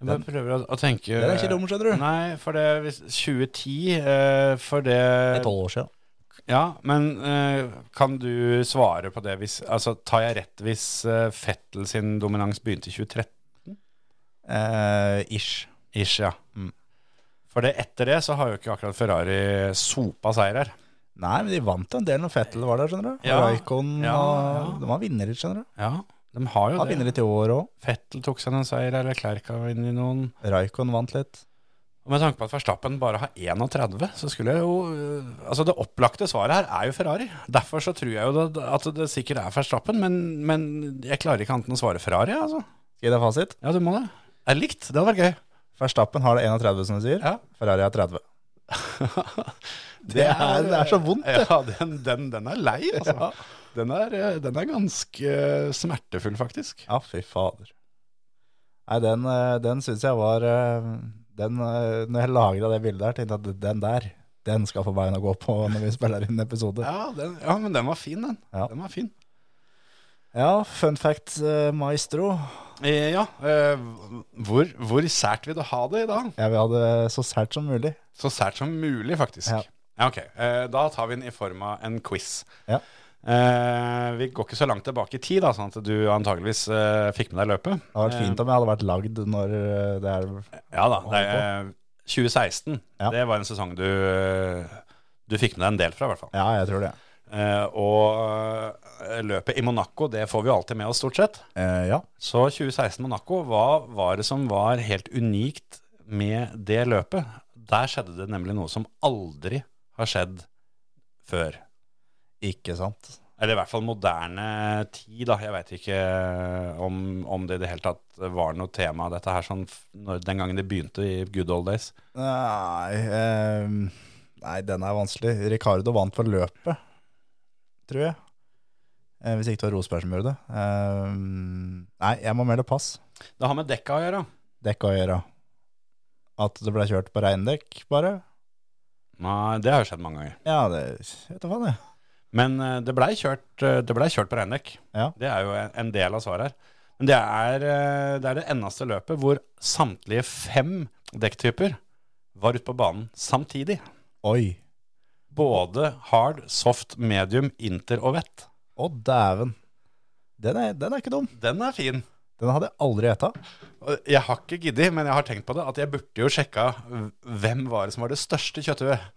Speaker 3: Jeg bare prøver å, å tenke
Speaker 4: Det er ikke dumt, skjønner du.
Speaker 3: Nei, for det hvis, 2010 eh, For det
Speaker 4: tolv år siden.
Speaker 3: Ja, men eh, kan du svare på det hvis Altså, tar jeg rett hvis eh, Fettel sin dominans begynte i 2013?
Speaker 4: Eh, ish.
Speaker 3: Ish, ja.
Speaker 4: Mm.
Speaker 3: For det, etter det så har jo ikke akkurat Ferrari sopa seirer.
Speaker 4: Nei, men de vant en del når Fettel var der, skjønner du.
Speaker 3: Ja,
Speaker 4: Raikon,
Speaker 3: ja, ja.
Speaker 4: og de var vinnere, skjønner du.
Speaker 3: Ja. De har jo
Speaker 4: Han vinner
Speaker 3: det.
Speaker 4: litt i år òg.
Speaker 3: Fettel tok seg noen seier, eller Klerk har vunnet noen.
Speaker 4: Raikon vant litt.
Speaker 3: Og med tanke på at Verstappen bare har 31, så skulle jeg jo øh, Altså, det opplagte svaret her er jo Ferrari. Derfor så tror jeg jo det, at det sikkert er Verstappen, men, men jeg klarer ikke annet enn å svare Ferrari, altså.
Speaker 4: Skal jeg gi deg fasit?
Speaker 3: Ja, du må det. Det er likt. Det hadde vært gøy.
Speaker 4: Verstappen har det 31, som du sier.
Speaker 3: Ja.
Speaker 4: Ferrari har 30.
Speaker 3: det,
Speaker 4: er- det er så vondt, det.
Speaker 3: Ja, den, den, den er lei, altså. Den, er, øh, den er ganske øh, smertefull, faktisk.
Speaker 4: Ja, fy fader. Nei, den, eh, den syns jeg var eh, den, eh, Når jeg lagra det bildet her, tenkte jeg at den der, den skal få bein å gå på når vi spiller inn episode.
Speaker 3: Ja,
Speaker 4: Ja,
Speaker 3: den, ja men den var fin, den.
Speaker 4: Ja.
Speaker 3: Den var fin.
Speaker 4: fun fact, eh, maestro.
Speaker 3: Eh, ja, eh, hvor, hvor sært vil du ha det i dag?
Speaker 4: Jeg vil ha det så sært som mulig.
Speaker 3: Så sært som mulig, faktisk.
Speaker 4: Ja.
Speaker 3: Ja. ok. Eh, da tar vi den i form av en quiz.
Speaker 4: Ja.
Speaker 3: Eh, vi går ikke så langt tilbake i tid, da, sånn at du antageligvis eh, fikk med deg løpet.
Speaker 4: Det hadde vært fint om jeg hadde vært lagd når eh, det er
Speaker 3: Ja da. Det, er, eh, 2016,
Speaker 4: Ja.
Speaker 3: det var en sesong du, eh, du fikk med deg en del fra, i hvert fall.
Speaker 4: Ja, jeg tror det.
Speaker 3: Eh, og eh, løpet i Monaco, det får vi jo alltid med oss, stort sett.
Speaker 4: Eh, ja.
Speaker 3: Så 2016 Monaco, hva var det som var helt unikt med det løpet? Der skjedde det nemlig noe som aldri har skjedd før.
Speaker 4: Ikke sant.
Speaker 3: Eller i hvert fall moderne tid, da. Jeg veit ikke eh, om, om det i det hele tatt var noe tema, dette her, sånn f- når, den gangen det begynte i good old days.
Speaker 4: Nei, eh, nei, den er vanskelig. Ricardo vant for løpet, tror jeg. Eh, hvis ikke det var Rosberg som gjorde det. Eh, nei, jeg må melde pass.
Speaker 3: Det har med dekka å gjøre.
Speaker 4: Dekk å gjøre. At det ble kjørt på regndekk, bare.
Speaker 3: Nei, det har jo skjedd mange ganger.
Speaker 4: Ja, det vet du faen, jeg.
Speaker 3: Men eh, det blei kjørt, eh, det ble kjørt på regndekk.
Speaker 4: Ja.
Speaker 3: Det er jo en- en del av svaret her. Men det er, eh, det er det eneste løpet hvor samtlige fem dekktyper var ute på banen samtidig.
Speaker 4: Oi.
Speaker 3: Både hard, soft, medium, inter og vett.
Speaker 4: Å, dæven. Den er, den er ikke dum.
Speaker 3: Den er fin.
Speaker 4: Den hadde jeg aldri gjetta.
Speaker 3: Og Jeg har ikke giddet, men jeg har tenkt på det, at jeg burde jo sjekka hvem var det som var det største kjøtthuet.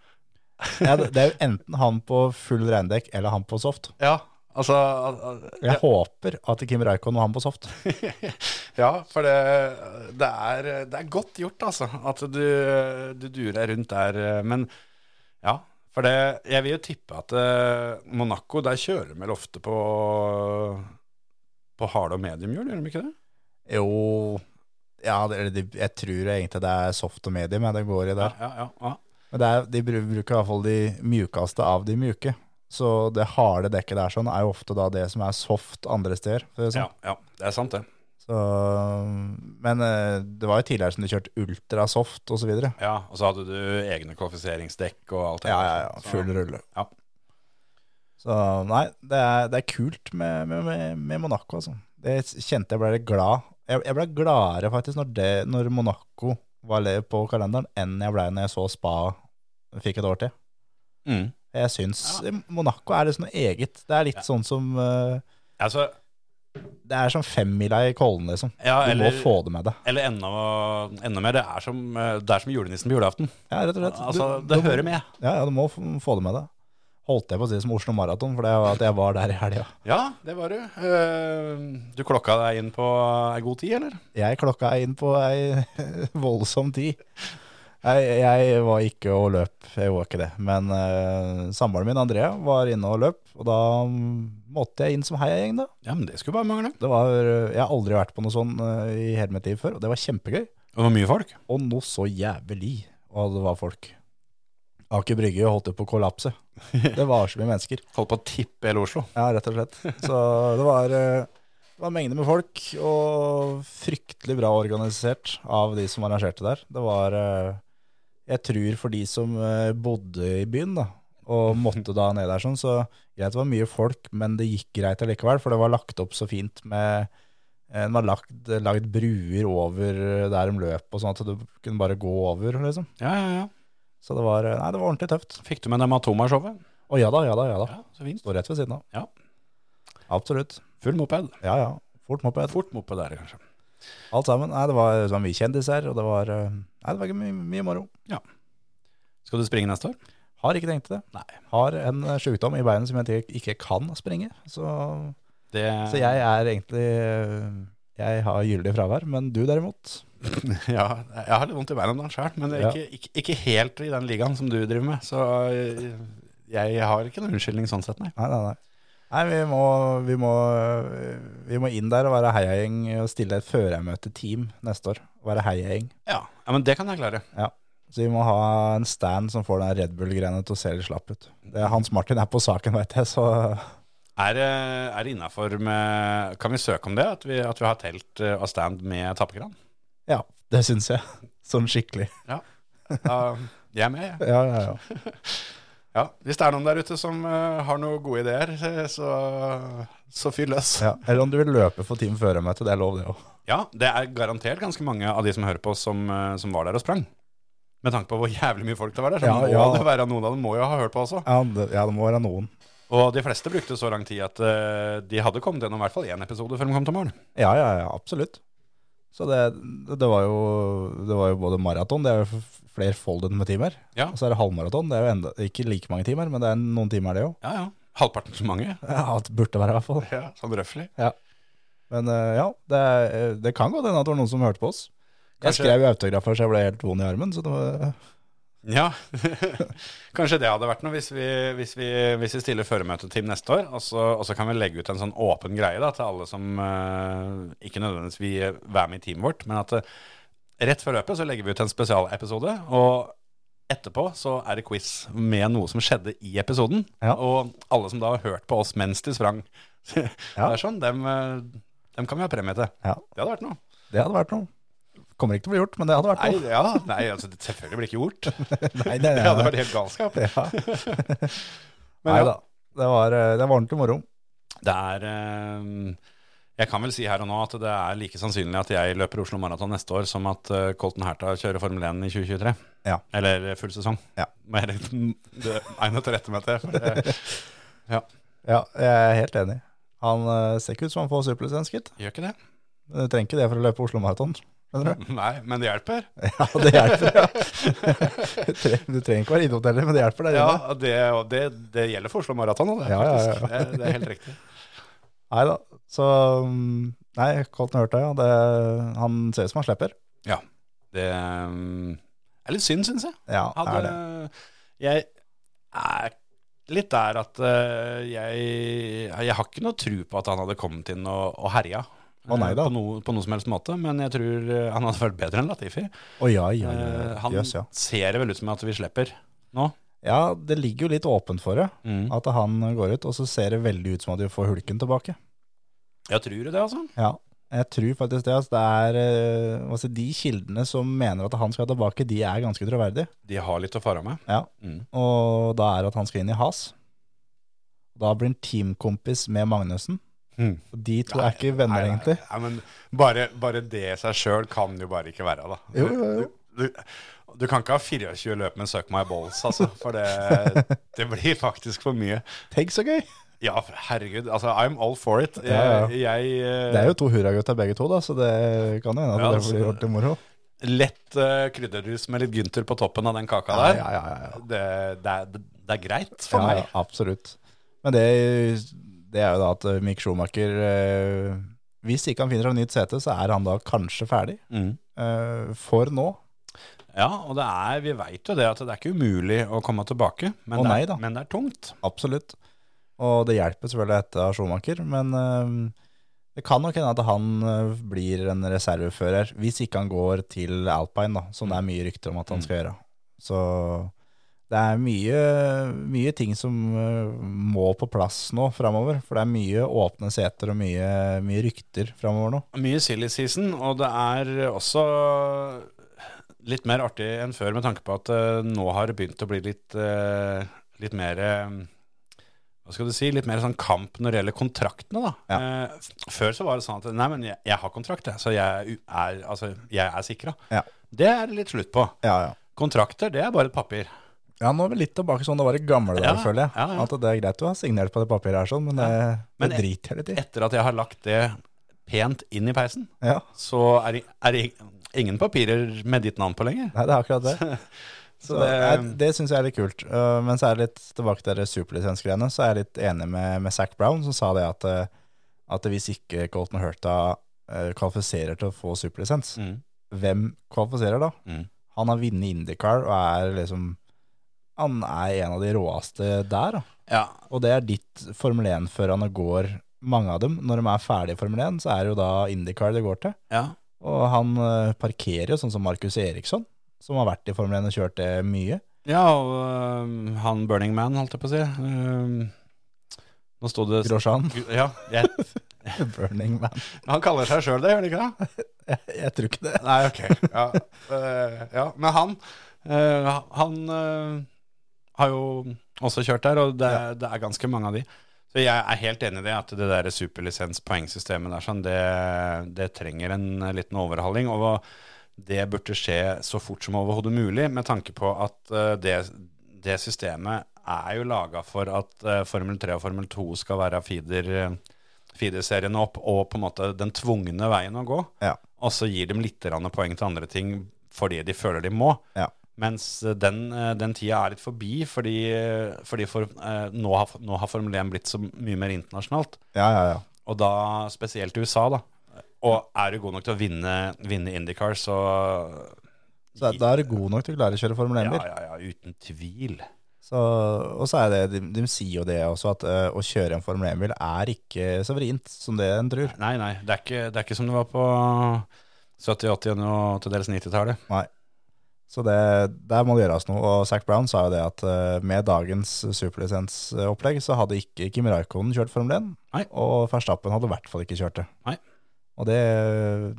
Speaker 4: Ja, det det er jo enten han på full regndekk eller han på soft.
Speaker 3: Ja, altså al- al-
Speaker 4: Jeg håper at Kim Reikon var han på soft.
Speaker 3: Ja, for det, det, er, det er godt gjort, altså. At du, du durer rundt der. Men ja, for det Jeg vil jo tippe at eh, Monaco, der kjører de vel ofte på På harde og mediumhjul, gjør de ikke det?
Speaker 4: Jo ja, det, eller de- jeg tror egentlig det er soft og medium jeg, det går i der.
Speaker 3: Ja, ja, ja.
Speaker 4: Men det er, de bru- bruker i hvert fall de mjukeste av de mjuke. Så det harde dekket der sånn er jo ofte da det som er soft andre steder. For å si det
Speaker 3: ja,
Speaker 4: sånn.
Speaker 3: ja det er sant, det.
Speaker 4: så, men eh, det var jo tidligere som de kjørte ultrasoft og så videre.
Speaker 3: Ja, Og så hadde du egne kvalifiseringsdekk og alt det
Speaker 4: Ja, ja,
Speaker 3: der.
Speaker 4: ja, full
Speaker 3: Så-
Speaker 4: rulle.
Speaker 3: Ja.
Speaker 4: Så nei, det er, det er kult med, med- med, med Monaco, altså. Det kjente jeg ble litt glad. Jeg, jeg ble gladere faktisk når, det, når Monaco var le- på kalenderen, enn jeg ble når jeg så Spa fikk et år til.
Speaker 3: Mm.
Speaker 4: Jeg syns Monaco er liksom noe eget. Det er litt sånn som eh,
Speaker 3: Altså,
Speaker 4: Det er som femmila i Kollen, liksom.
Speaker 3: ja,
Speaker 4: Du
Speaker 3: eller,
Speaker 4: må få det med deg.
Speaker 3: eller enda, enda mer, det er, som, eh, det er som julenissen på julaften.
Speaker 4: Ja, rett og slett.
Speaker 3: Altså,
Speaker 4: Du-
Speaker 3: det
Speaker 4: du-
Speaker 3: hører med.
Speaker 4: Ja, ja, du må f- få det med deg. Holdt jeg på å si det som Oslo Maraton, for det var at jeg var der i helga.
Speaker 3: Ja, det var du. Eh, Du klokka deg inn på ei god tid, eller?
Speaker 4: Jeg klokka inn på ei voldsom tid. Jeg, jeg var ikke og løp, jeg var ikke det. Men eh, samboeren min, Andrea, var inne og løp. Og da mm, måtte jeg inn som heiagjeng, da.
Speaker 3: Ja, men det skulle bare mangle.
Speaker 4: Det var, jeg har aldri vært på noe sånn eh, i hele mitt liv før, og det var kjempegøy.
Speaker 3: Det var mye folk.
Speaker 4: Og noe så jævlig og det var folk. Aker Brygge holdt jo på å kollapse. Det var så mye mennesker.
Speaker 3: Holdt på å tippe hele Oslo.
Speaker 4: Ja, rett og slett. Så det var, eh, det var mengder med folk, og fryktelig bra organisert av de som arrangerte der. Det var, eh, jeg tror for de som eh, bodde i byen da, og måtte da ned der sånn, så greit det var mye folk, men det gikk greit allikevel, for det var lagt opp så fint med eh, det var lagt, lagt bruer over eh, der de løp, og sånn at du kunne bare gå over, liksom.
Speaker 3: Ja, ja, ja.
Speaker 4: Så det var, eh, nei, det var ordentlig tøft.
Speaker 3: Fikk du med deg Matoma-showet?
Speaker 4: Å ja da, ja da, ja da.
Speaker 3: så fint.
Speaker 4: Står rett ved siden av.
Speaker 3: Ja.
Speaker 4: Absolutt.
Speaker 3: Full moped.
Speaker 4: Ja, ja. Fort moped.
Speaker 3: Fort moped der, kanskje.
Speaker 4: Alt sammen. Nei, det var, det var mye kjendiser, og det var, eh, nei, det var ikke mye, mye moro.
Speaker 3: Skal du springe neste år?
Speaker 4: Har ikke tenkt det.
Speaker 3: Nei.
Speaker 4: Har en eh, sykdom i beinet som jeg ikke- ikke kan springe, så
Speaker 3: Det,
Speaker 4: Så jeg er egentlig eh, Jeg har gyldig fravær, men du derimot
Speaker 3: ja, jeg har litt vondt i beina om dagen sjøl, men det er ikke, ikke, ikke helt i den ligaen som du driver med. Så jeg, jeg har ikke noen unnskyldning sånn sett, nei.
Speaker 4: Nei, nei, nei. Nei, vi må, vi må, eh, vi må inn der og være heiagjeng og stille et førermøteteam neste år. Være heiagjeng.
Speaker 3: Ja, ja, Men det kan jeg klare.
Speaker 4: Så vi må ha en stand som får den Red Bull-greiene til å se litt slapp ut. Det, Hans Martin er på saken, veit jeg, så
Speaker 3: Er, det- er det innafor med Kan vi søke om det? At vi, at vi har telt eh, og stand med tappekran?
Speaker 4: ja, det syns jeg. Sånn skikkelig.
Speaker 3: Da- Jeg er med, jeg.
Speaker 4: Ja, ja, ja.
Speaker 3: Ja, hvis det er noen der ute som eh, har noen gode ideer, eh, så, så fyr løs. Ja.
Speaker 4: ja. Eller om du vil løpe for team førermøte, det er lov, det òg.
Speaker 3: det er garantert ganske mange av de som hører på, som, eh, som var der og sprang. Med tanke på hvor jævlig mye folk det var der, så
Speaker 4: Ja,
Speaker 3: må
Speaker 4: ja.
Speaker 3: det være noen av dem må jo ha hørt på også.
Speaker 4: Ja, det ja, det må være noen.
Speaker 3: Og de fleste brukte så lang tid at eh, de hadde kommet gjennom i hvert fall én episode før de kom til morgen.
Speaker 4: Ja, ja, ja, absolutt. Så det, det, var jo, det var jo både maraton, det er jo f- flerfoldet med timer,
Speaker 3: Ja.
Speaker 4: og så er det halvmaraton. Det er jo enda, ikke like mange timer, men det er noen timer det jo.
Speaker 3: Ja, ja. Halvparten så mange.
Speaker 4: Ja, det burde være i hvert fall.
Speaker 3: Ja, sånn røffelig.
Speaker 4: Men eh, ja, det, er, eh, det kan godt hende at det var noen som hørte på oss. Jeg
Speaker 3: Kanskje-
Speaker 4: skrev jo autografer, så jeg ble helt vond i armen. Så det var,
Speaker 3: Ja, kanskje det hadde vært noe hvis vi, hvis vi, hvis vi stiller føremøteteam neste år, og så, og så kan vi legge ut en sånn åpen greie da, til alle som eh, ikke nødvendigvis vil være med i teamet vårt, men at eh, rett før løpet så legger vi ut en spesialepisode, og etterpå så er det quiz med noe som skjedde i episoden,
Speaker 4: Ja.
Speaker 3: og alle som da har hørt på oss mens de sprang, det er sånn, dem, eh, dem kan vi ha premie til.
Speaker 4: ja,
Speaker 3: Det hadde vært noe.
Speaker 4: det hadde vært noe. Kommer ikke til å bli gjort, men det hadde vært
Speaker 3: Nei,
Speaker 4: noe.
Speaker 3: ja, nei altså, det selvfølgelig blir ikke gjort.
Speaker 4: Nei, det,
Speaker 3: Det hadde vært helt galskap.
Speaker 4: ja.
Speaker 3: Men
Speaker 4: Nei
Speaker 3: ja.
Speaker 4: da. Det var, eh, det var ordentlig moro.
Speaker 3: Det er eh, Jeg kan vel si her og nå at det er like sannsynlig at jeg løper Oslo Maraton neste år som at eh, Colton Herta kjører Formel 1 i 2023.
Speaker 4: Ja.
Speaker 3: Eller eh, full sesong.
Speaker 4: Ja.
Speaker 3: Mer enn det egnet til rette med det. for det
Speaker 4: Ja, jeg er helt enig. Han eh, ser ikke ut som han får superlisens, gitt.
Speaker 3: Gjør ikke det?
Speaker 4: Men Du trenger ikke det for å løpe Oslo Maraton. Skjønner du?
Speaker 3: Nei, men det hjelper.
Speaker 4: Ja, det hjelper. Ja. Du tre- Du trenger ikke være idiot heller, men det hjelper der
Speaker 3: Ja,
Speaker 4: inne.
Speaker 3: og det, og det, det gjelder for Oslo Maraton òg, det.
Speaker 4: Ja, ja, ja.
Speaker 3: faktisk. Det, det er helt riktig.
Speaker 4: Nei da. Så mm, Nei, Colton Hurta, ja. Det, han ser ut som han slipper.
Speaker 3: Det eh, er litt synd, syns jeg.
Speaker 4: Ja, det er
Speaker 3: Hadde,
Speaker 4: det.
Speaker 3: jeg er litt der at eh, jeg, jeg har ikke noe tro på at han hadde kommet inn og, og herja.
Speaker 4: Å, nei
Speaker 3: eh,
Speaker 4: da.
Speaker 3: På, noe, på noe som helst måte, men jeg tror eh, han hadde vært bedre enn Latifi.
Speaker 4: Å ja, ja, ja.
Speaker 3: Eh,
Speaker 4: ja.
Speaker 3: han
Speaker 4: Jøss, ja.
Speaker 3: ser det vel ut som at vi slipper nå.
Speaker 4: Ja, det ligger jo litt åpent for det.
Speaker 3: Mm.
Speaker 4: At han går ut, og så ser det veldig ut som at vi får hulken tilbake.
Speaker 3: Jeg tror det, altså.
Speaker 4: Ja, jeg tror faktisk det. Altså, det er, eh, altså, de kildene som mener at han skal tilbake, de er ganske troverdige.
Speaker 3: De har litt å fare med.
Speaker 4: Ja.
Speaker 3: Mm.
Speaker 4: Og da er det at han skal inn i Has. Da blir han teamkompis med Magnussen.
Speaker 3: Mm.
Speaker 4: Og De to er ikke venner,
Speaker 3: Nei,
Speaker 4: egentlig.
Speaker 3: Nei, nei, men bare, bare det i seg sjøl kan jo bare ikke være, da.
Speaker 4: Jo, jo, jo.
Speaker 3: Du, du, du kan ikke ha 24 løp med 'Suck my balls', altså. For det, det blir faktisk for mye.
Speaker 4: Tenk så gøy!
Speaker 3: Ja, herregud. Altså, I'm all for it. Jeg,
Speaker 4: Ja,
Speaker 3: jeg eh,
Speaker 4: Det er jo to hurragutter begge to, da, så det kan jo hende at
Speaker 3: Ja,
Speaker 4: det
Speaker 3: altså,
Speaker 4: blir ordentlig moro.
Speaker 3: lett eh, krydderrus med litt Gynter på toppen av den kaka
Speaker 4: Ja,
Speaker 3: der.
Speaker 4: ja, ja, ja.
Speaker 3: Det, det, er, det er greit for
Speaker 4: Ja, ja,
Speaker 3: meg.
Speaker 4: absolutt. Men det, det er jo da at Mick Schumacher eh, Hvis ikke han finner et nytt sete, så er han da kanskje ferdig.
Speaker 3: Mm.
Speaker 4: eh, for nå.
Speaker 3: Ja, og det er, vi veit jo det at det er ikke umulig å komme tilbake, men,
Speaker 4: Å,
Speaker 3: det,
Speaker 4: nei da.
Speaker 3: er, men det er tungt.
Speaker 4: Absolutt. Og det hjelper selvfølgelig etter av Schumacher, men eh, det kan nok hende at han eh, blir en reservefører, hvis ikke han går til Alpine, da, som det er mye rykter om at
Speaker 3: Mm.
Speaker 4: han skal gjøre. Så det er mye, mye ting som eh, må på plass nå framover, for det er mye åpne seter og mye, mye rykter framover nå.
Speaker 3: Mye silly season, og det er også litt mer artig enn før med tanke på at eh, nå har det begynt å bli litt, eh, litt mer eh, hva skal du si, litt mer sånn kamp når det gjelder kontraktene, da. Eh, f- før så var det sånn at nei, men jeg, jeg har kontrakt, jeg, så jeg u- er, altså, jeg er sikra.
Speaker 4: Ja.
Speaker 3: Det er det litt slutt på.
Speaker 4: Ja, ja.
Speaker 3: Kontrakter, det er bare et papir.
Speaker 4: Ja, nå er vi litt tilbake sånn det var i gamle dager,
Speaker 3: Ja,
Speaker 4: føler jeg.
Speaker 3: ja, ja.
Speaker 4: At det er greit du har signert på det papiret her, sånn, men det,
Speaker 3: Men
Speaker 4: det
Speaker 3: et-
Speaker 4: driter jeg litt i.
Speaker 3: Etter at jeg har lagt det pent inn i peisen,
Speaker 4: Ja.
Speaker 3: så er det, er det ingen papirer med ditt navn på lenger.
Speaker 4: Nei, det er akkurat det. Så det,
Speaker 3: det-
Speaker 4: nei, det syns jeg er litt kult. Uh, men så er det litt tilbake til det superlisensgreiene, så er jeg litt enig med, med Zac Brown, som sa det at, uh, at hvis ikke Colton Hurta eh, kvalifiserer til å få superlisens,
Speaker 3: Mm.
Speaker 4: hvem kvalifiserer da?
Speaker 3: Mm.
Speaker 4: Han har vunnet IndyCar og er liksom Han er en av de råeste der, da.
Speaker 3: Ja.
Speaker 4: Og det er ditt Formel 1-førerne går, mange av dem. Når de er ferdige i Formel 1, så er det jo da IndyCar det går til.
Speaker 3: ja.
Speaker 4: Og han eh, parkerer jo sånn som Markus Eriksson, som har vært i Formel 1 og kjørt det mye.
Speaker 3: Ja, og øhm, han Burning Man, holdt jeg på å si. Øhm, nå sto det
Speaker 4: Grosjean,
Speaker 3: Ja, jeg,
Speaker 4: Burning Man.
Speaker 3: han kaller seg sjøl det, gjør han ikke det?
Speaker 4: Jeg, jeg tror ikke det.
Speaker 3: Nei, ok. Ja, øh, ja. Men han, øh, han øh, har jo også kjørt der, og det, er- det er ganske mange av de. Så jeg er helt enig i det, at det der superlisenspoengsystemet der, sånn, det, det trenger en eh, liten overhaling. Og det burde skje så fort som overhodet mulig, med tanke på at eh, det, det systemet er jo laga for at eh, Formel 3 og Formel 2 skal være feeder, feederseriene opp, og på en måte den tvungne veien å gå.
Speaker 4: Ja.
Speaker 3: Og så gir de litt grann poeng til andre ting fordi de føler de må.
Speaker 4: Ja.
Speaker 3: Mens eh, den, eh, den tida er litt forbi, fordi, fordi for, eh, nå, har, nå har Formel 1 blitt så mye mer internasjonalt.
Speaker 4: Ja, ja, ja.
Speaker 3: Og da spesielt i USA, da. Og er du god nok til å vinne, vinne IndyCar, så
Speaker 4: Så er- da er du god nok til å klare å kjøre Formel
Speaker 3: ja,
Speaker 4: 1-bil.
Speaker 3: ja, ja, uten tvil.
Speaker 4: Så, og så er det, de, de sier jo det også, at eh, å kjøre en Formel 1-bil er ikke så vrient som det en tror.
Speaker 3: Nei, nei, det er ikke, det er ikke som det var på 70-, 80- og til dels 90-tallet.
Speaker 4: Så det, der må det gjøres noe. Og Zac Brown sa jo det at eh, med dagens superlisensopplegg så hadde ikke Kim Raikonen kjørt Formel 1,
Speaker 3: Nei.
Speaker 4: og Verstappen hadde i hvert fall ikke kjørt det.
Speaker 3: Nei.
Speaker 4: Og det,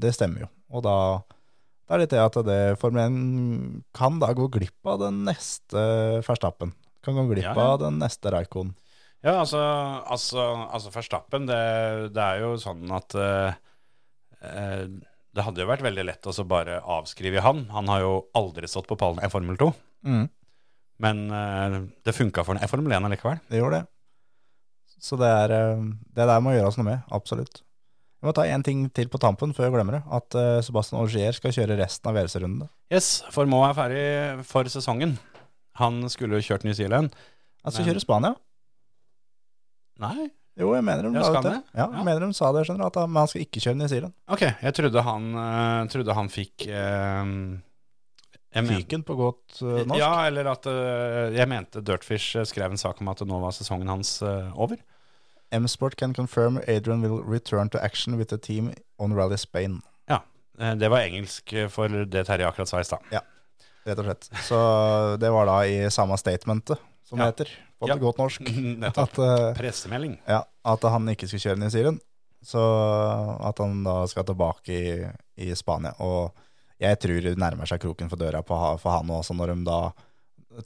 Speaker 4: det stemmer jo. Og da det er litt det at det Formel 1 kan da gå glipp av den neste Verstappen. Kan gå glipp
Speaker 3: Ja, ja.
Speaker 4: av den neste Raikonen.
Speaker 3: Ja, altså, altså, altså Verstappen, det, det er jo sånn at eh, eh, det hadde jo vært veldig lett å så bare avskrive han. Han har jo aldri stått på pallen i Formel 2,
Speaker 4: Mm.
Speaker 3: men eh, det funka for han i Formel 1 allikevel.
Speaker 4: Det gjør det. Så det, er, eh, det der må gjøres noe med, absolutt. Jeg må ta én ting til på tampen før jeg glemmer det. At eh, Sebastian Augier skal kjøre resten av VRC-rundene.
Speaker 3: Yes, for Moe er ferdig for sesongen. Han skulle jo kjørt New Zealand.
Speaker 4: Han skal
Speaker 3: Men-
Speaker 4: kjøre Spania.
Speaker 3: Nei,
Speaker 4: Jo, jeg mener de
Speaker 3: Ja,
Speaker 4: la
Speaker 3: skal
Speaker 4: ut det.
Speaker 3: han
Speaker 4: Ja,
Speaker 3: Ja.
Speaker 4: jeg mener de sa det, skjønner du. At han, men han skal ikke kjøre New Zealand.
Speaker 3: ok. Jeg trodde han, eh, trodde han fikk eh, jeg men-
Speaker 4: Fyken på godt eh, norsk.
Speaker 3: Ja, eller at eh, jeg mente Dirtfish eh, skrev en sak om at nå var sesongen hans eh, over.
Speaker 4: M-Sport can confirm Adrian will return to action with the team on Rally Spain.
Speaker 3: Eh, Det var engelsk eh, for det Terje akkurat sa i stad.
Speaker 4: Rett og slett. Så det var da i samme statementet, som
Speaker 3: Ja.
Speaker 4: det heter, på
Speaker 3: Ja.
Speaker 4: ja. godt norsk,
Speaker 3: Nettopp.
Speaker 4: at, eh,
Speaker 3: Pressemelding.
Speaker 4: ja, at han ikke skulle kjøre New Zealand. Så at han da skal tilbake i, i Spania. Og jeg tror det nærmer seg kroken for døra på, ha- for han også, når de da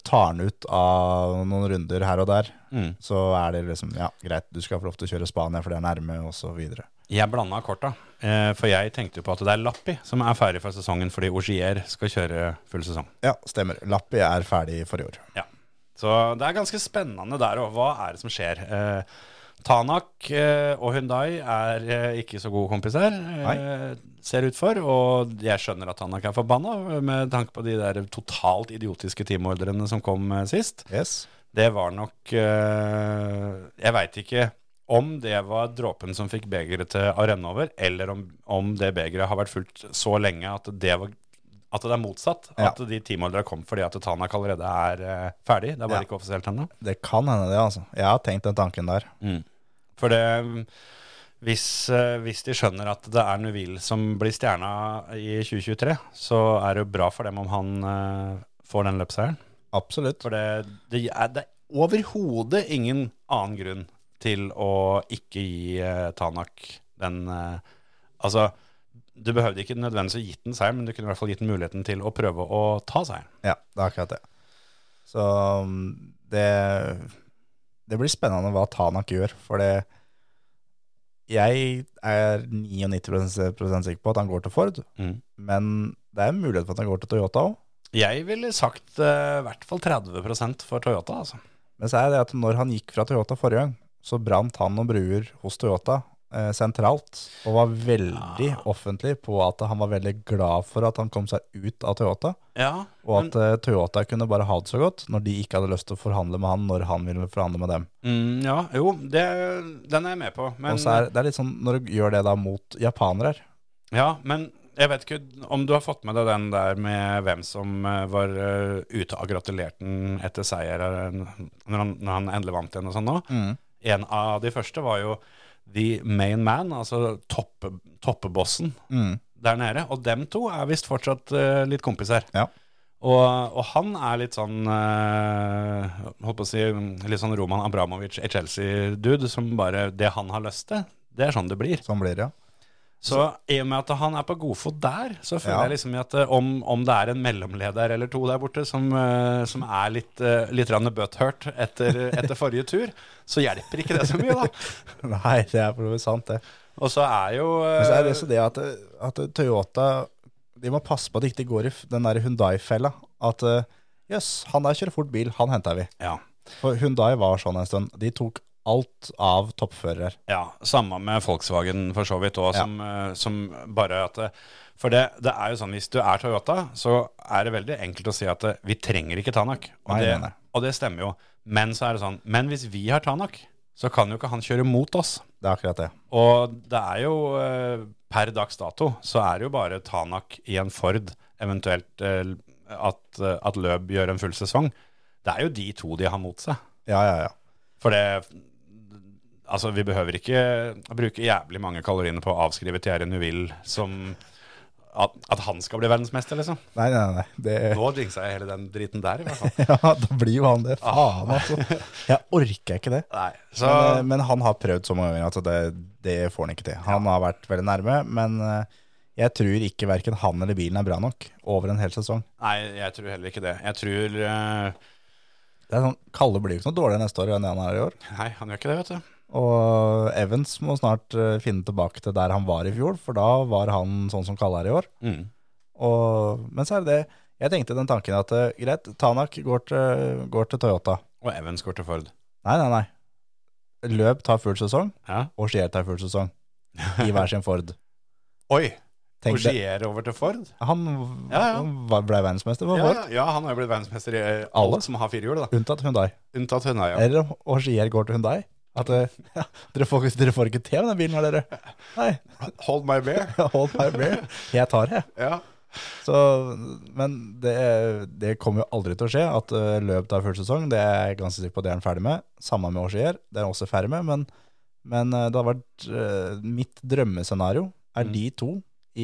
Speaker 4: tar han ut av noen runder her og der.
Speaker 3: Mm.
Speaker 4: så er det liksom, ja, greit, du skal få lov til å kjøre Spania, for det er nærme, og så videre.
Speaker 3: Jeg blanda korta, eh, for jeg tenkte jo på at det er Lappi som er ferdig for sesongen fordi Ogier skal kjøre full sesong.
Speaker 4: Ja, stemmer. Lappi er ferdig for i år.
Speaker 3: Så det er ganske spennende der òg. Hva er det som skjer? Eh, Tanak eh, og Hundai er eh, ikke så gode kompiser, eh, ser ut for. Og jeg skjønner at Tanak er forbanna, med tanke på de der totalt idiotiske teamordrene som kom eh, sist.
Speaker 4: Yes.
Speaker 3: Det var nok eh, Jeg veit ikke om det var dråpen som fikk begeret til å renne over, eller om, om det begeret har vært fullt så lenge at det, var, at det er motsatt.
Speaker 4: Ja.
Speaker 3: At de teamholderne kom fordi at Tanak allerede er eh, ferdig. Det er bare
Speaker 4: Ja.
Speaker 3: ikke offisielt ennå.
Speaker 4: Det kan hende det, altså. Jeg har tenkt den tanken der.
Speaker 3: For det hvis, eh, hvis de skjønner at det er Nuville som blir stjerna i 2023, så er det jo bra for dem om han eh, får den løpsseieren.
Speaker 4: Absolutt.
Speaker 3: For det, det, er, det er overhodet ingen annen grunn til å ikke gi eh, Tanak den eh, Altså, du behøvde ikke nødvendigvis å gitt den seieren, men du kunne i hvert fall gitt den muligheten til å prøve å ta seieren.
Speaker 4: Ja, det er akkurat det. Så um, det, det blir spennende hva Tanak gjør, for det jeg er 99 sikker på at han går til Ford,
Speaker 3: Mm.
Speaker 4: men det er en mulighet for at han går til Toyota òg.
Speaker 3: Jeg ville sagt eh, i hvert fall 30 for Toyota, altså.
Speaker 4: Men så er det at når han gikk fra Toyota forrige gang, så brant han noen bruer hos Toyota eh, sentralt, og var veldig offentlig på at han var veldig glad for at han kom seg ut av Toyota,
Speaker 3: Ja,
Speaker 4: og at eh, Toyota kunne bare ha det så godt når de ikke hadde lyst til å forhandle med han når han ville forhandle med dem.
Speaker 3: mm, ja jo, det, den er jeg med på. Men,
Speaker 4: og så er det er litt sånn, når du gjør det da mot japanere her,
Speaker 3: ja, men jeg vet ikke om du har fått med deg den der med hvem som eh, var eh, ute og gratulerte han etter seier eh, når han, når han endelig vant igjen og sånn nå. En av de første var jo The Main Man, altså topp, toppebossen
Speaker 4: mm,
Speaker 3: der nede. Og dem to er visst fortsatt eh, litt kompiser.
Speaker 4: Ja.
Speaker 3: Og, og han er litt sånn eh, holdt på å si, litt sånn Roman Abramovic i Chelsea-dude som bare Det han har lyst til, det er sånn det blir.
Speaker 4: sånn blir det, ja.
Speaker 3: Så i og med at han er på godfot der, så føler
Speaker 4: Ja.
Speaker 3: jeg liksom at eh, om, om det er en mellomleder eller to der borte som, eh, som er litt, uh, litt rann butthurt etter, etter forrige tur, så hjelper ikke det så mye, da.
Speaker 4: Nei, det er for så vidt sant, det.
Speaker 3: Og så er jo eh,
Speaker 4: Men så er det også det at, eh, at Toyota De må passe på at de ikke går i f- den der Hundai-fella. At eh, jøss, han der kjører fort bil, han henter vi.
Speaker 3: ja.
Speaker 4: For Hundai var sånn en stund. De tok alt av toppførere.
Speaker 3: Ja, samme med Volkswagen for så vidt òg,
Speaker 4: Ja.
Speaker 3: som, eh, som bare at det- For det, det er jo sånn, hvis du er Toyota, så er det veldig enkelt å si at eh, vi trenger ikke Tanak. Og,
Speaker 4: Nei,
Speaker 3: det,
Speaker 4: nei, nei.
Speaker 3: og det stemmer jo. Men så er det sånn, men hvis vi har Tanak, så kan jo ikke han kjøre mot oss.
Speaker 4: Det er akkurat det.
Speaker 3: Og det er jo eh, per dags dato så er det jo bare Tanak i en Ford, eventuelt eh, at, eh, at Løb gjør en full sesong. Det er jo de to de har mot seg.
Speaker 4: Ja, ja, ja.
Speaker 3: For det Altså, vi behøver ikke bruke jævlig mange kaloriene på å avskrive Thierry Neuville som at, at han skal bli verdensmester, liksom.
Speaker 4: Nei, nei, nei. Det,
Speaker 3: Nå jinxa jeg hele den driten der, i hvert fall.
Speaker 4: ja, da blir jo han det. Faen, altså. Jeg orker ikke det.
Speaker 3: Nei, så
Speaker 4: Men, eh, men han har prøvd så mange ganger at det, det får han ikke til. Han har vært veldig nærme, men eh, jeg tror ikke verken han eller bilen er bra nok over en hel sesong.
Speaker 3: Nei, jeg tror heller ikke det. Jeg tror eh,
Speaker 4: Det er sånn, Kalle blir jo ikke noe dårligere neste år enn det han er i år.
Speaker 3: Nei, han gjør ikke det, vet du.
Speaker 4: Og Evans må snart eh, finne tilbake til der han var i fjor, for da var han sånn som Kalle er i år.
Speaker 3: Mm.
Speaker 4: Og, men så er det det. Jeg tenkte den tanken at eh, greit, Tanak går til, går til Toyota.
Speaker 3: Og Evans går til Ford.
Speaker 4: Nei, nei, nei. Løp tar full sesong,
Speaker 3: Ja.
Speaker 4: og Skier tar full sesong. I hver sin Ford.
Speaker 3: Oi!
Speaker 4: Tenk det.
Speaker 3: Ogier over til Ford?
Speaker 4: Han
Speaker 3: Ja, ja.
Speaker 4: han var- ble verdensmester for
Speaker 3: Ja,
Speaker 4: Ford,
Speaker 3: ja, ja, han har jo blitt verdensmester i eh,
Speaker 4: Alle?
Speaker 3: alt som har firehjul, da.
Speaker 4: unntatt Hyundai.
Speaker 3: Unntatt Hundøya.
Speaker 4: Eller om Ogier går til Hyundai. At eh, ja, dere, får, dere får ikke til med den bilen her, dere. Nei,
Speaker 3: Hold my bear.
Speaker 4: hold my beer. Jeg tar det.
Speaker 3: Ja.
Speaker 4: Så, men det, det kommer jo aldri til å skje at eh, løp tar full sesong. Det er jeg ganske sikker på det er han ferdig med. Samme med Åsier, det er han også ferdig med. Men, men eh, det har vært eh, mitt drømmescenario
Speaker 3: Mm.
Speaker 4: er de to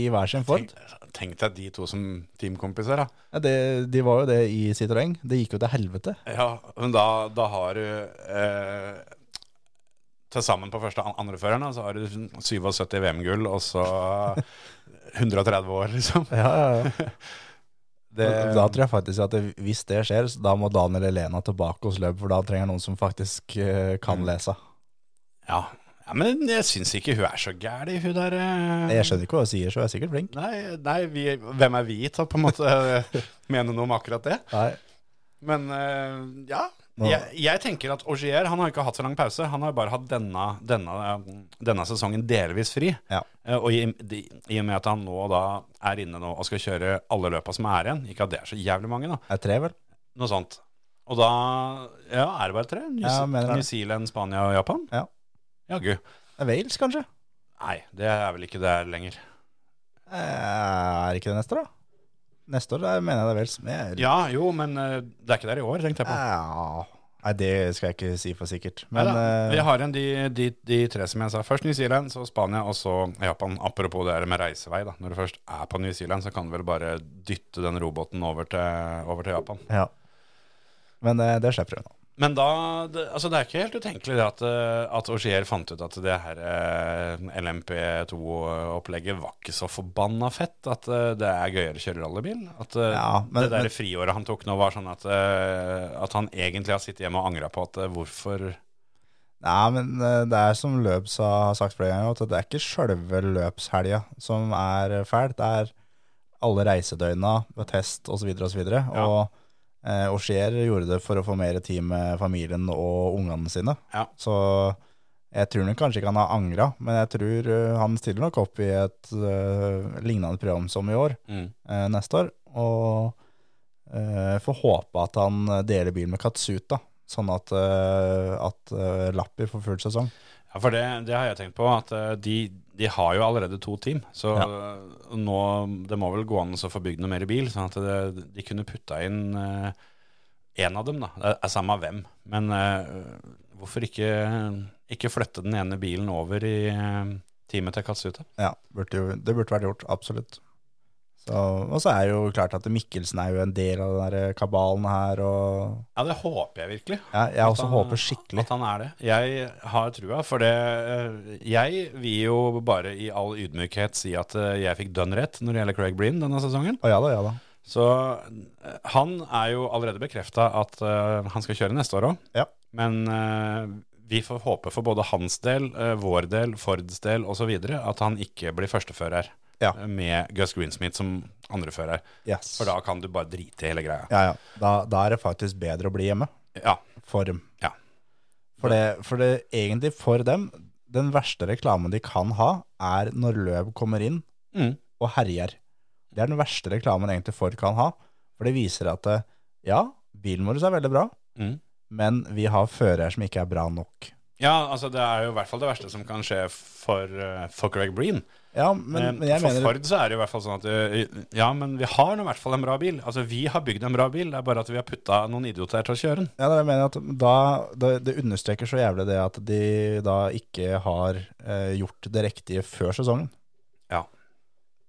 Speaker 4: i hver sin Ford.
Speaker 3: Tenk, tenk deg de to som teamkompiser, da.
Speaker 4: Ja, Det, de var jo det i Citroën. Det gikk jo til helvete.
Speaker 3: Ja, men da, da har du eh, Til sammen på første an- andreføreren, da, så har du 77 VM-gull, og så 130 år, liksom. Det,
Speaker 4: Men eh, Da tror jeg faktisk at det, hvis det skjer, så da må Daniel Elena tilbake hos løp, for da trenger han noen som faktisk eh, kan lese.
Speaker 3: ja. ja, men jeg syns ikke hun er så gæren, hun der. eh.
Speaker 4: Jeg skjønner ikke hva hun sier, så hun er sikkert flink.
Speaker 3: Nei, nei vi, hvem er vi til å på en måte eh, mene noe om akkurat det?
Speaker 4: Nei.
Speaker 3: Men eh, ja. Jeg, jeg tenker at Augier han har ikke hatt så lang pause. Han har bare hatt denne, denne, eh, denne sesongen delvis fri.
Speaker 4: Ja.
Speaker 3: Eh, og i, de, i og med at han nå da er inne nå og skal kjøre alle løpa som er igjen, ikke at det er så jævlig mange, da,
Speaker 4: Er tre, vel?
Speaker 3: noe sånt. Og da ja, er det bare tre? New,
Speaker 4: Ja, mener det.
Speaker 3: New Zealand, Spania og Japan?
Speaker 4: Ja.
Speaker 3: Jaggu.
Speaker 4: Det er Wales, kanskje?
Speaker 3: Nei, det er vel ikke det lenger.
Speaker 4: Eh, Er ikke det neste år, da? Neste år der mener jeg det er vel som jeg
Speaker 3: Ja, jo, men eh, det er ikke der i år, tenkte jeg på.
Speaker 4: Ja. Nei, det skal jeg ikke si for sikkert. Men
Speaker 3: Neida,
Speaker 4: eh,
Speaker 3: vi har igjen de, de, de tre som jeg sa. Først New Zealand, så Spania og så Japan. Apropos det her med reisevei. da Når du først er på New Zealand, så kan du vel bare dytte den robåten over til, over til Japan.
Speaker 4: ja. Men eh, det slipper hun nå.
Speaker 3: Men da det, Altså, det er ikke helt utenkelig det at, eh, at Augier fant ut at det her eh, LMP2-opplegget var ikke så forbanna fett. At eh, det er gøyere å kjøre rallybil. At eh,
Speaker 4: Ja, men-
Speaker 3: det der
Speaker 4: men-
Speaker 3: friåret han tok nå, var sånn at, eh, at han egentlig har sittet hjemme og angra på at eh, hvorfor
Speaker 4: Nei, men eh, det er som Løbs har sagt flere ganger, at det er ikke sjølve løpshelga som er eh, fælt. Det er alle reisedøgna, test osv. osv. videre
Speaker 3: Ja.
Speaker 4: Og eh, Auxier gjorde det for å få mer tid med familien og ungene sine.
Speaker 3: Ja.
Speaker 4: Så Jeg tror nok kanskje ikke han har angra, men jeg tror eh, han stiller nok opp i et eh, lignende program som i år,
Speaker 3: Mm.
Speaker 4: eh, neste år. Og eh, får håpe at han deler bil med Katsuta, sånn at, eh, at eh, Lappi får full sesong.
Speaker 3: Ja, for det, det har jeg tenkt på, at eh, de, de har jo allerede to team. Så eh, nå, det må vel gå an å få bygd noe mer bil, sånn at det, de kunne putta inn én av dem, da. Det er samme hvem. Men eh, hvorfor ikke, ikke flytte den ene bilen over i eh, teamet til Katsuta?
Speaker 4: Ja, burde jo, det burde vært gjort, absolutt. Så, og så er det jo klart at Mikkelsen er jo en del av den der kabalen her, og
Speaker 3: Ja, det håper jeg virkelig.
Speaker 4: ja, jeg også
Speaker 3: At han-
Speaker 4: håper skikkelig.
Speaker 3: At han er det. Jeg har trua, for det eh, Jeg vil jo bare i all ydmykhet si at eh, jeg fikk dønn rett når det gjelder Craig Breen denne sesongen.
Speaker 4: Å ja da, ja da.
Speaker 3: Så eh, han er jo allerede bekrefta at eh, han skal kjøre neste år òg.
Speaker 4: Ja.
Speaker 3: Men eh, vi får håpe for både hans del, eh, vår del, Fords del osv. at han ikke blir førstefører
Speaker 4: Ja.
Speaker 3: eh, med Gus Greensmith som andrefører.
Speaker 4: Yes.
Speaker 3: For da kan du bare drite i hele greia.
Speaker 4: Ja, ja. Da, da er det faktisk bedre å bli hjemme.
Speaker 3: Ja.
Speaker 4: For dem.
Speaker 3: Ja.
Speaker 4: For det, for det egentlig for dem, den verste reklamen de kan ha, er når løv kommer inn
Speaker 3: Mm.
Speaker 4: og herjer. Det er den verste reklamen egentlig Ford kan ha. For det viser at eh, ja, bilen vår er veldig bra,
Speaker 3: Mm.
Speaker 4: men vi har førere som ikke er bra nok.
Speaker 3: ja, altså det er jo i hvert fall det verste som kan skje for, eh, for Craig Breen.
Speaker 4: Ja, men,
Speaker 3: Men,
Speaker 4: men jeg
Speaker 3: Eh, for
Speaker 4: mener
Speaker 3: Ford så er det jo i hvert fall sånn at ø, Ja, men vi har nå i hvert fall en bra bil. Altså, vi har bygd en bra bil, det er bare at vi har putta noen idioter til å kjøre den.
Speaker 4: ja, da, jeg mener at da, da, Det understreker så jævlig det at de da ikke har eh, gjort det riktige før sesongen.
Speaker 3: Ja.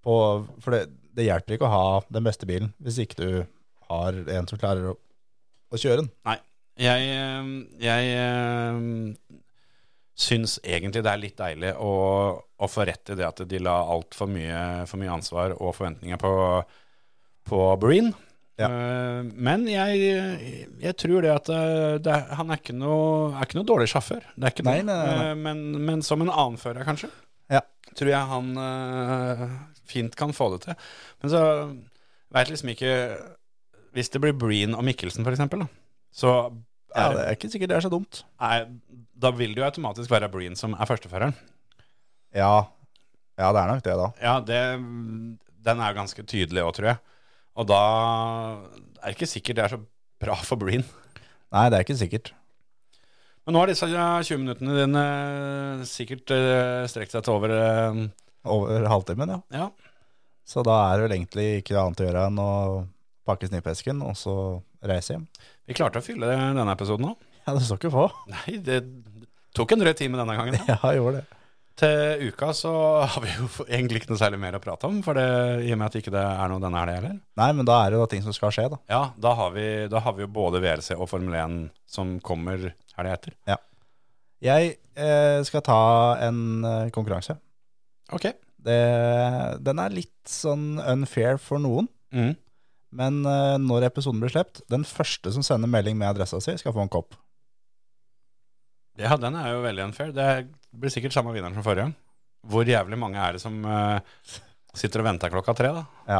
Speaker 4: På, for det, det hjelper ikke å ha den beste bilen hvis ikke du har en som klarer å, å kjøre den.
Speaker 3: Jeg, ø, jeg ø, syns egentlig det er litt deilig å, å få rett i det at de la altfor mye, for mye ansvar og forventninger på, på Breen.
Speaker 4: Ja.
Speaker 3: Ø, Men jeg, jeg tror det at ø, det, er- han er ikke noe, er ikke noe dårlig sjåfør. Det er ikke
Speaker 4: Nei,
Speaker 3: det.
Speaker 4: nei, nei, nei.
Speaker 3: Ø, Men, men som en annen fører, kanskje.
Speaker 4: Ja.
Speaker 3: tror jeg han eh, fint kan få det til. Men så veit liksom ikke Hvis det blir Breen og Mikkelsen, f.eks., da, så
Speaker 4: Ja,
Speaker 3: er,
Speaker 4: det er ikke sikkert det er så dumt.
Speaker 3: er, da vil det jo automatisk være Breen som er førsteføreren.
Speaker 4: Ja, ja det er nok det, da.
Speaker 3: Ja, det, den er jo ganske tydelig òg, tror jeg. Og da er det ikke sikkert det er så bra for Breen.
Speaker 4: Nei, det er ikke sikkert.
Speaker 3: Men nå har disse 20 minuttene dine sikkert eh, strekt seg til over eh,
Speaker 4: Over halvtimen, ja.
Speaker 3: Ja.
Speaker 4: Så da er det vel egentlig ikke noe annet å gjøre enn å pakke snippesken og så reise hjem.
Speaker 3: Vi klarte å fylle denne episoden òg.
Speaker 4: Ja, det står ikke på.
Speaker 3: Nei, det tok en drøy time denne gangen.
Speaker 4: Ja, jeg gjorde det.
Speaker 3: Til uka så har vi jo egentlig ikke noe særlig mer å prate om, for det, i og med at ikke det er noe denne helga heller.
Speaker 4: Nei, men da er det jo da ting som skal skje, da.
Speaker 3: Ja, da har, vi, da har vi jo både VRC og Formel 1 som kommer helga etter.
Speaker 4: Jeg eh, skal ta en eh, konkurranse.
Speaker 3: Ok.
Speaker 4: Det, den er litt sånn unfair for noen,
Speaker 3: Mm.
Speaker 4: men eh, når episoden blir slept, den første som sender melding med adressa si, skal få en kopp.
Speaker 3: Ja, den er jo veldig unfair. Det blir sikkert samme vinneren som forrige gang. Hvor jævlig mange er det som eh, sitter og venter klokka tre, da?
Speaker 4: Ja,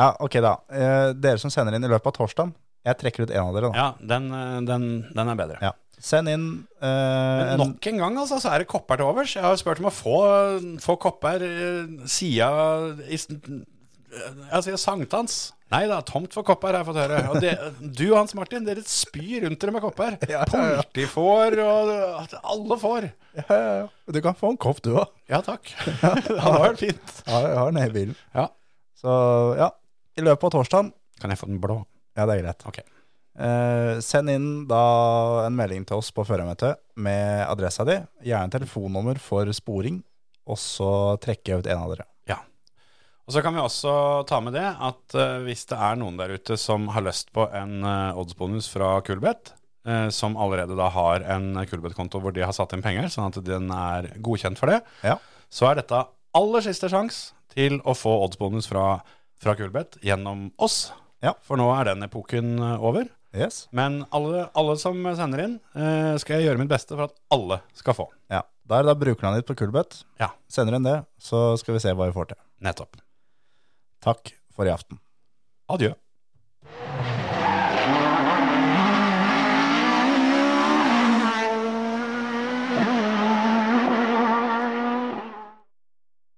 Speaker 4: ja ok da. Eh, dere som sender inn i løpet av torsdagen, jeg trekker ut en av dere da.
Speaker 3: Ja, den, eh, den, den er bedre.
Speaker 4: Ja. Send inn eh,
Speaker 3: Men
Speaker 4: en,
Speaker 3: nok en gang altså, så er det kopper til overs. Jeg har spurt om å få, få kopper eh, sida i s- eh, Jeg sier sankthans. Nei da, tomt for kopper, har jeg fått høre. Og det, du og Hans Martin, dere spyr rundt dere med kopper.
Speaker 4: Ja, ja, ja.
Speaker 3: Politi får, og alle får.
Speaker 4: Ja, ja, ja. Du kan få en kopp, du òg.
Speaker 3: Ja takk. Det hadde vært fint.
Speaker 4: Ja, jeg har den i bilen.
Speaker 3: Ja.
Speaker 4: Så ja, i løpet av torsdagen
Speaker 3: Kan jeg få den blå?
Speaker 4: Ja, det er greit.
Speaker 3: Ok.
Speaker 4: Eh, send inn da en melding til oss på førermøtet med adressa di, gjerne telefonnummer for sporing, og så trekker jeg ut en av dere.
Speaker 3: Og så kan vi også ta med det at eh, hvis det er noen der ute som har lyst på en eh, oddsbonus fra Kulbeth, eh, som allerede da har en Kulbeth-konto hvor de har satt inn penger, sånn at den er godkjent for det,
Speaker 4: Ja.
Speaker 3: så er dette aller siste sjans til å få oddsbonus fra, fra Kulbeth gjennom oss.
Speaker 4: Ja.
Speaker 3: For nå er den epoken eh, over.
Speaker 4: Yes.
Speaker 3: Men alle, alle som sender inn, eh, skal jeg gjøre mitt beste for at alle skal få.
Speaker 4: Ja. Da er det da brukernavnet ditt på Kulbeth.
Speaker 3: Ja.
Speaker 4: Sender inn det, så skal vi se hva vi får til.
Speaker 3: Nettopp.
Speaker 4: Takk for i aften.
Speaker 3: Adjø.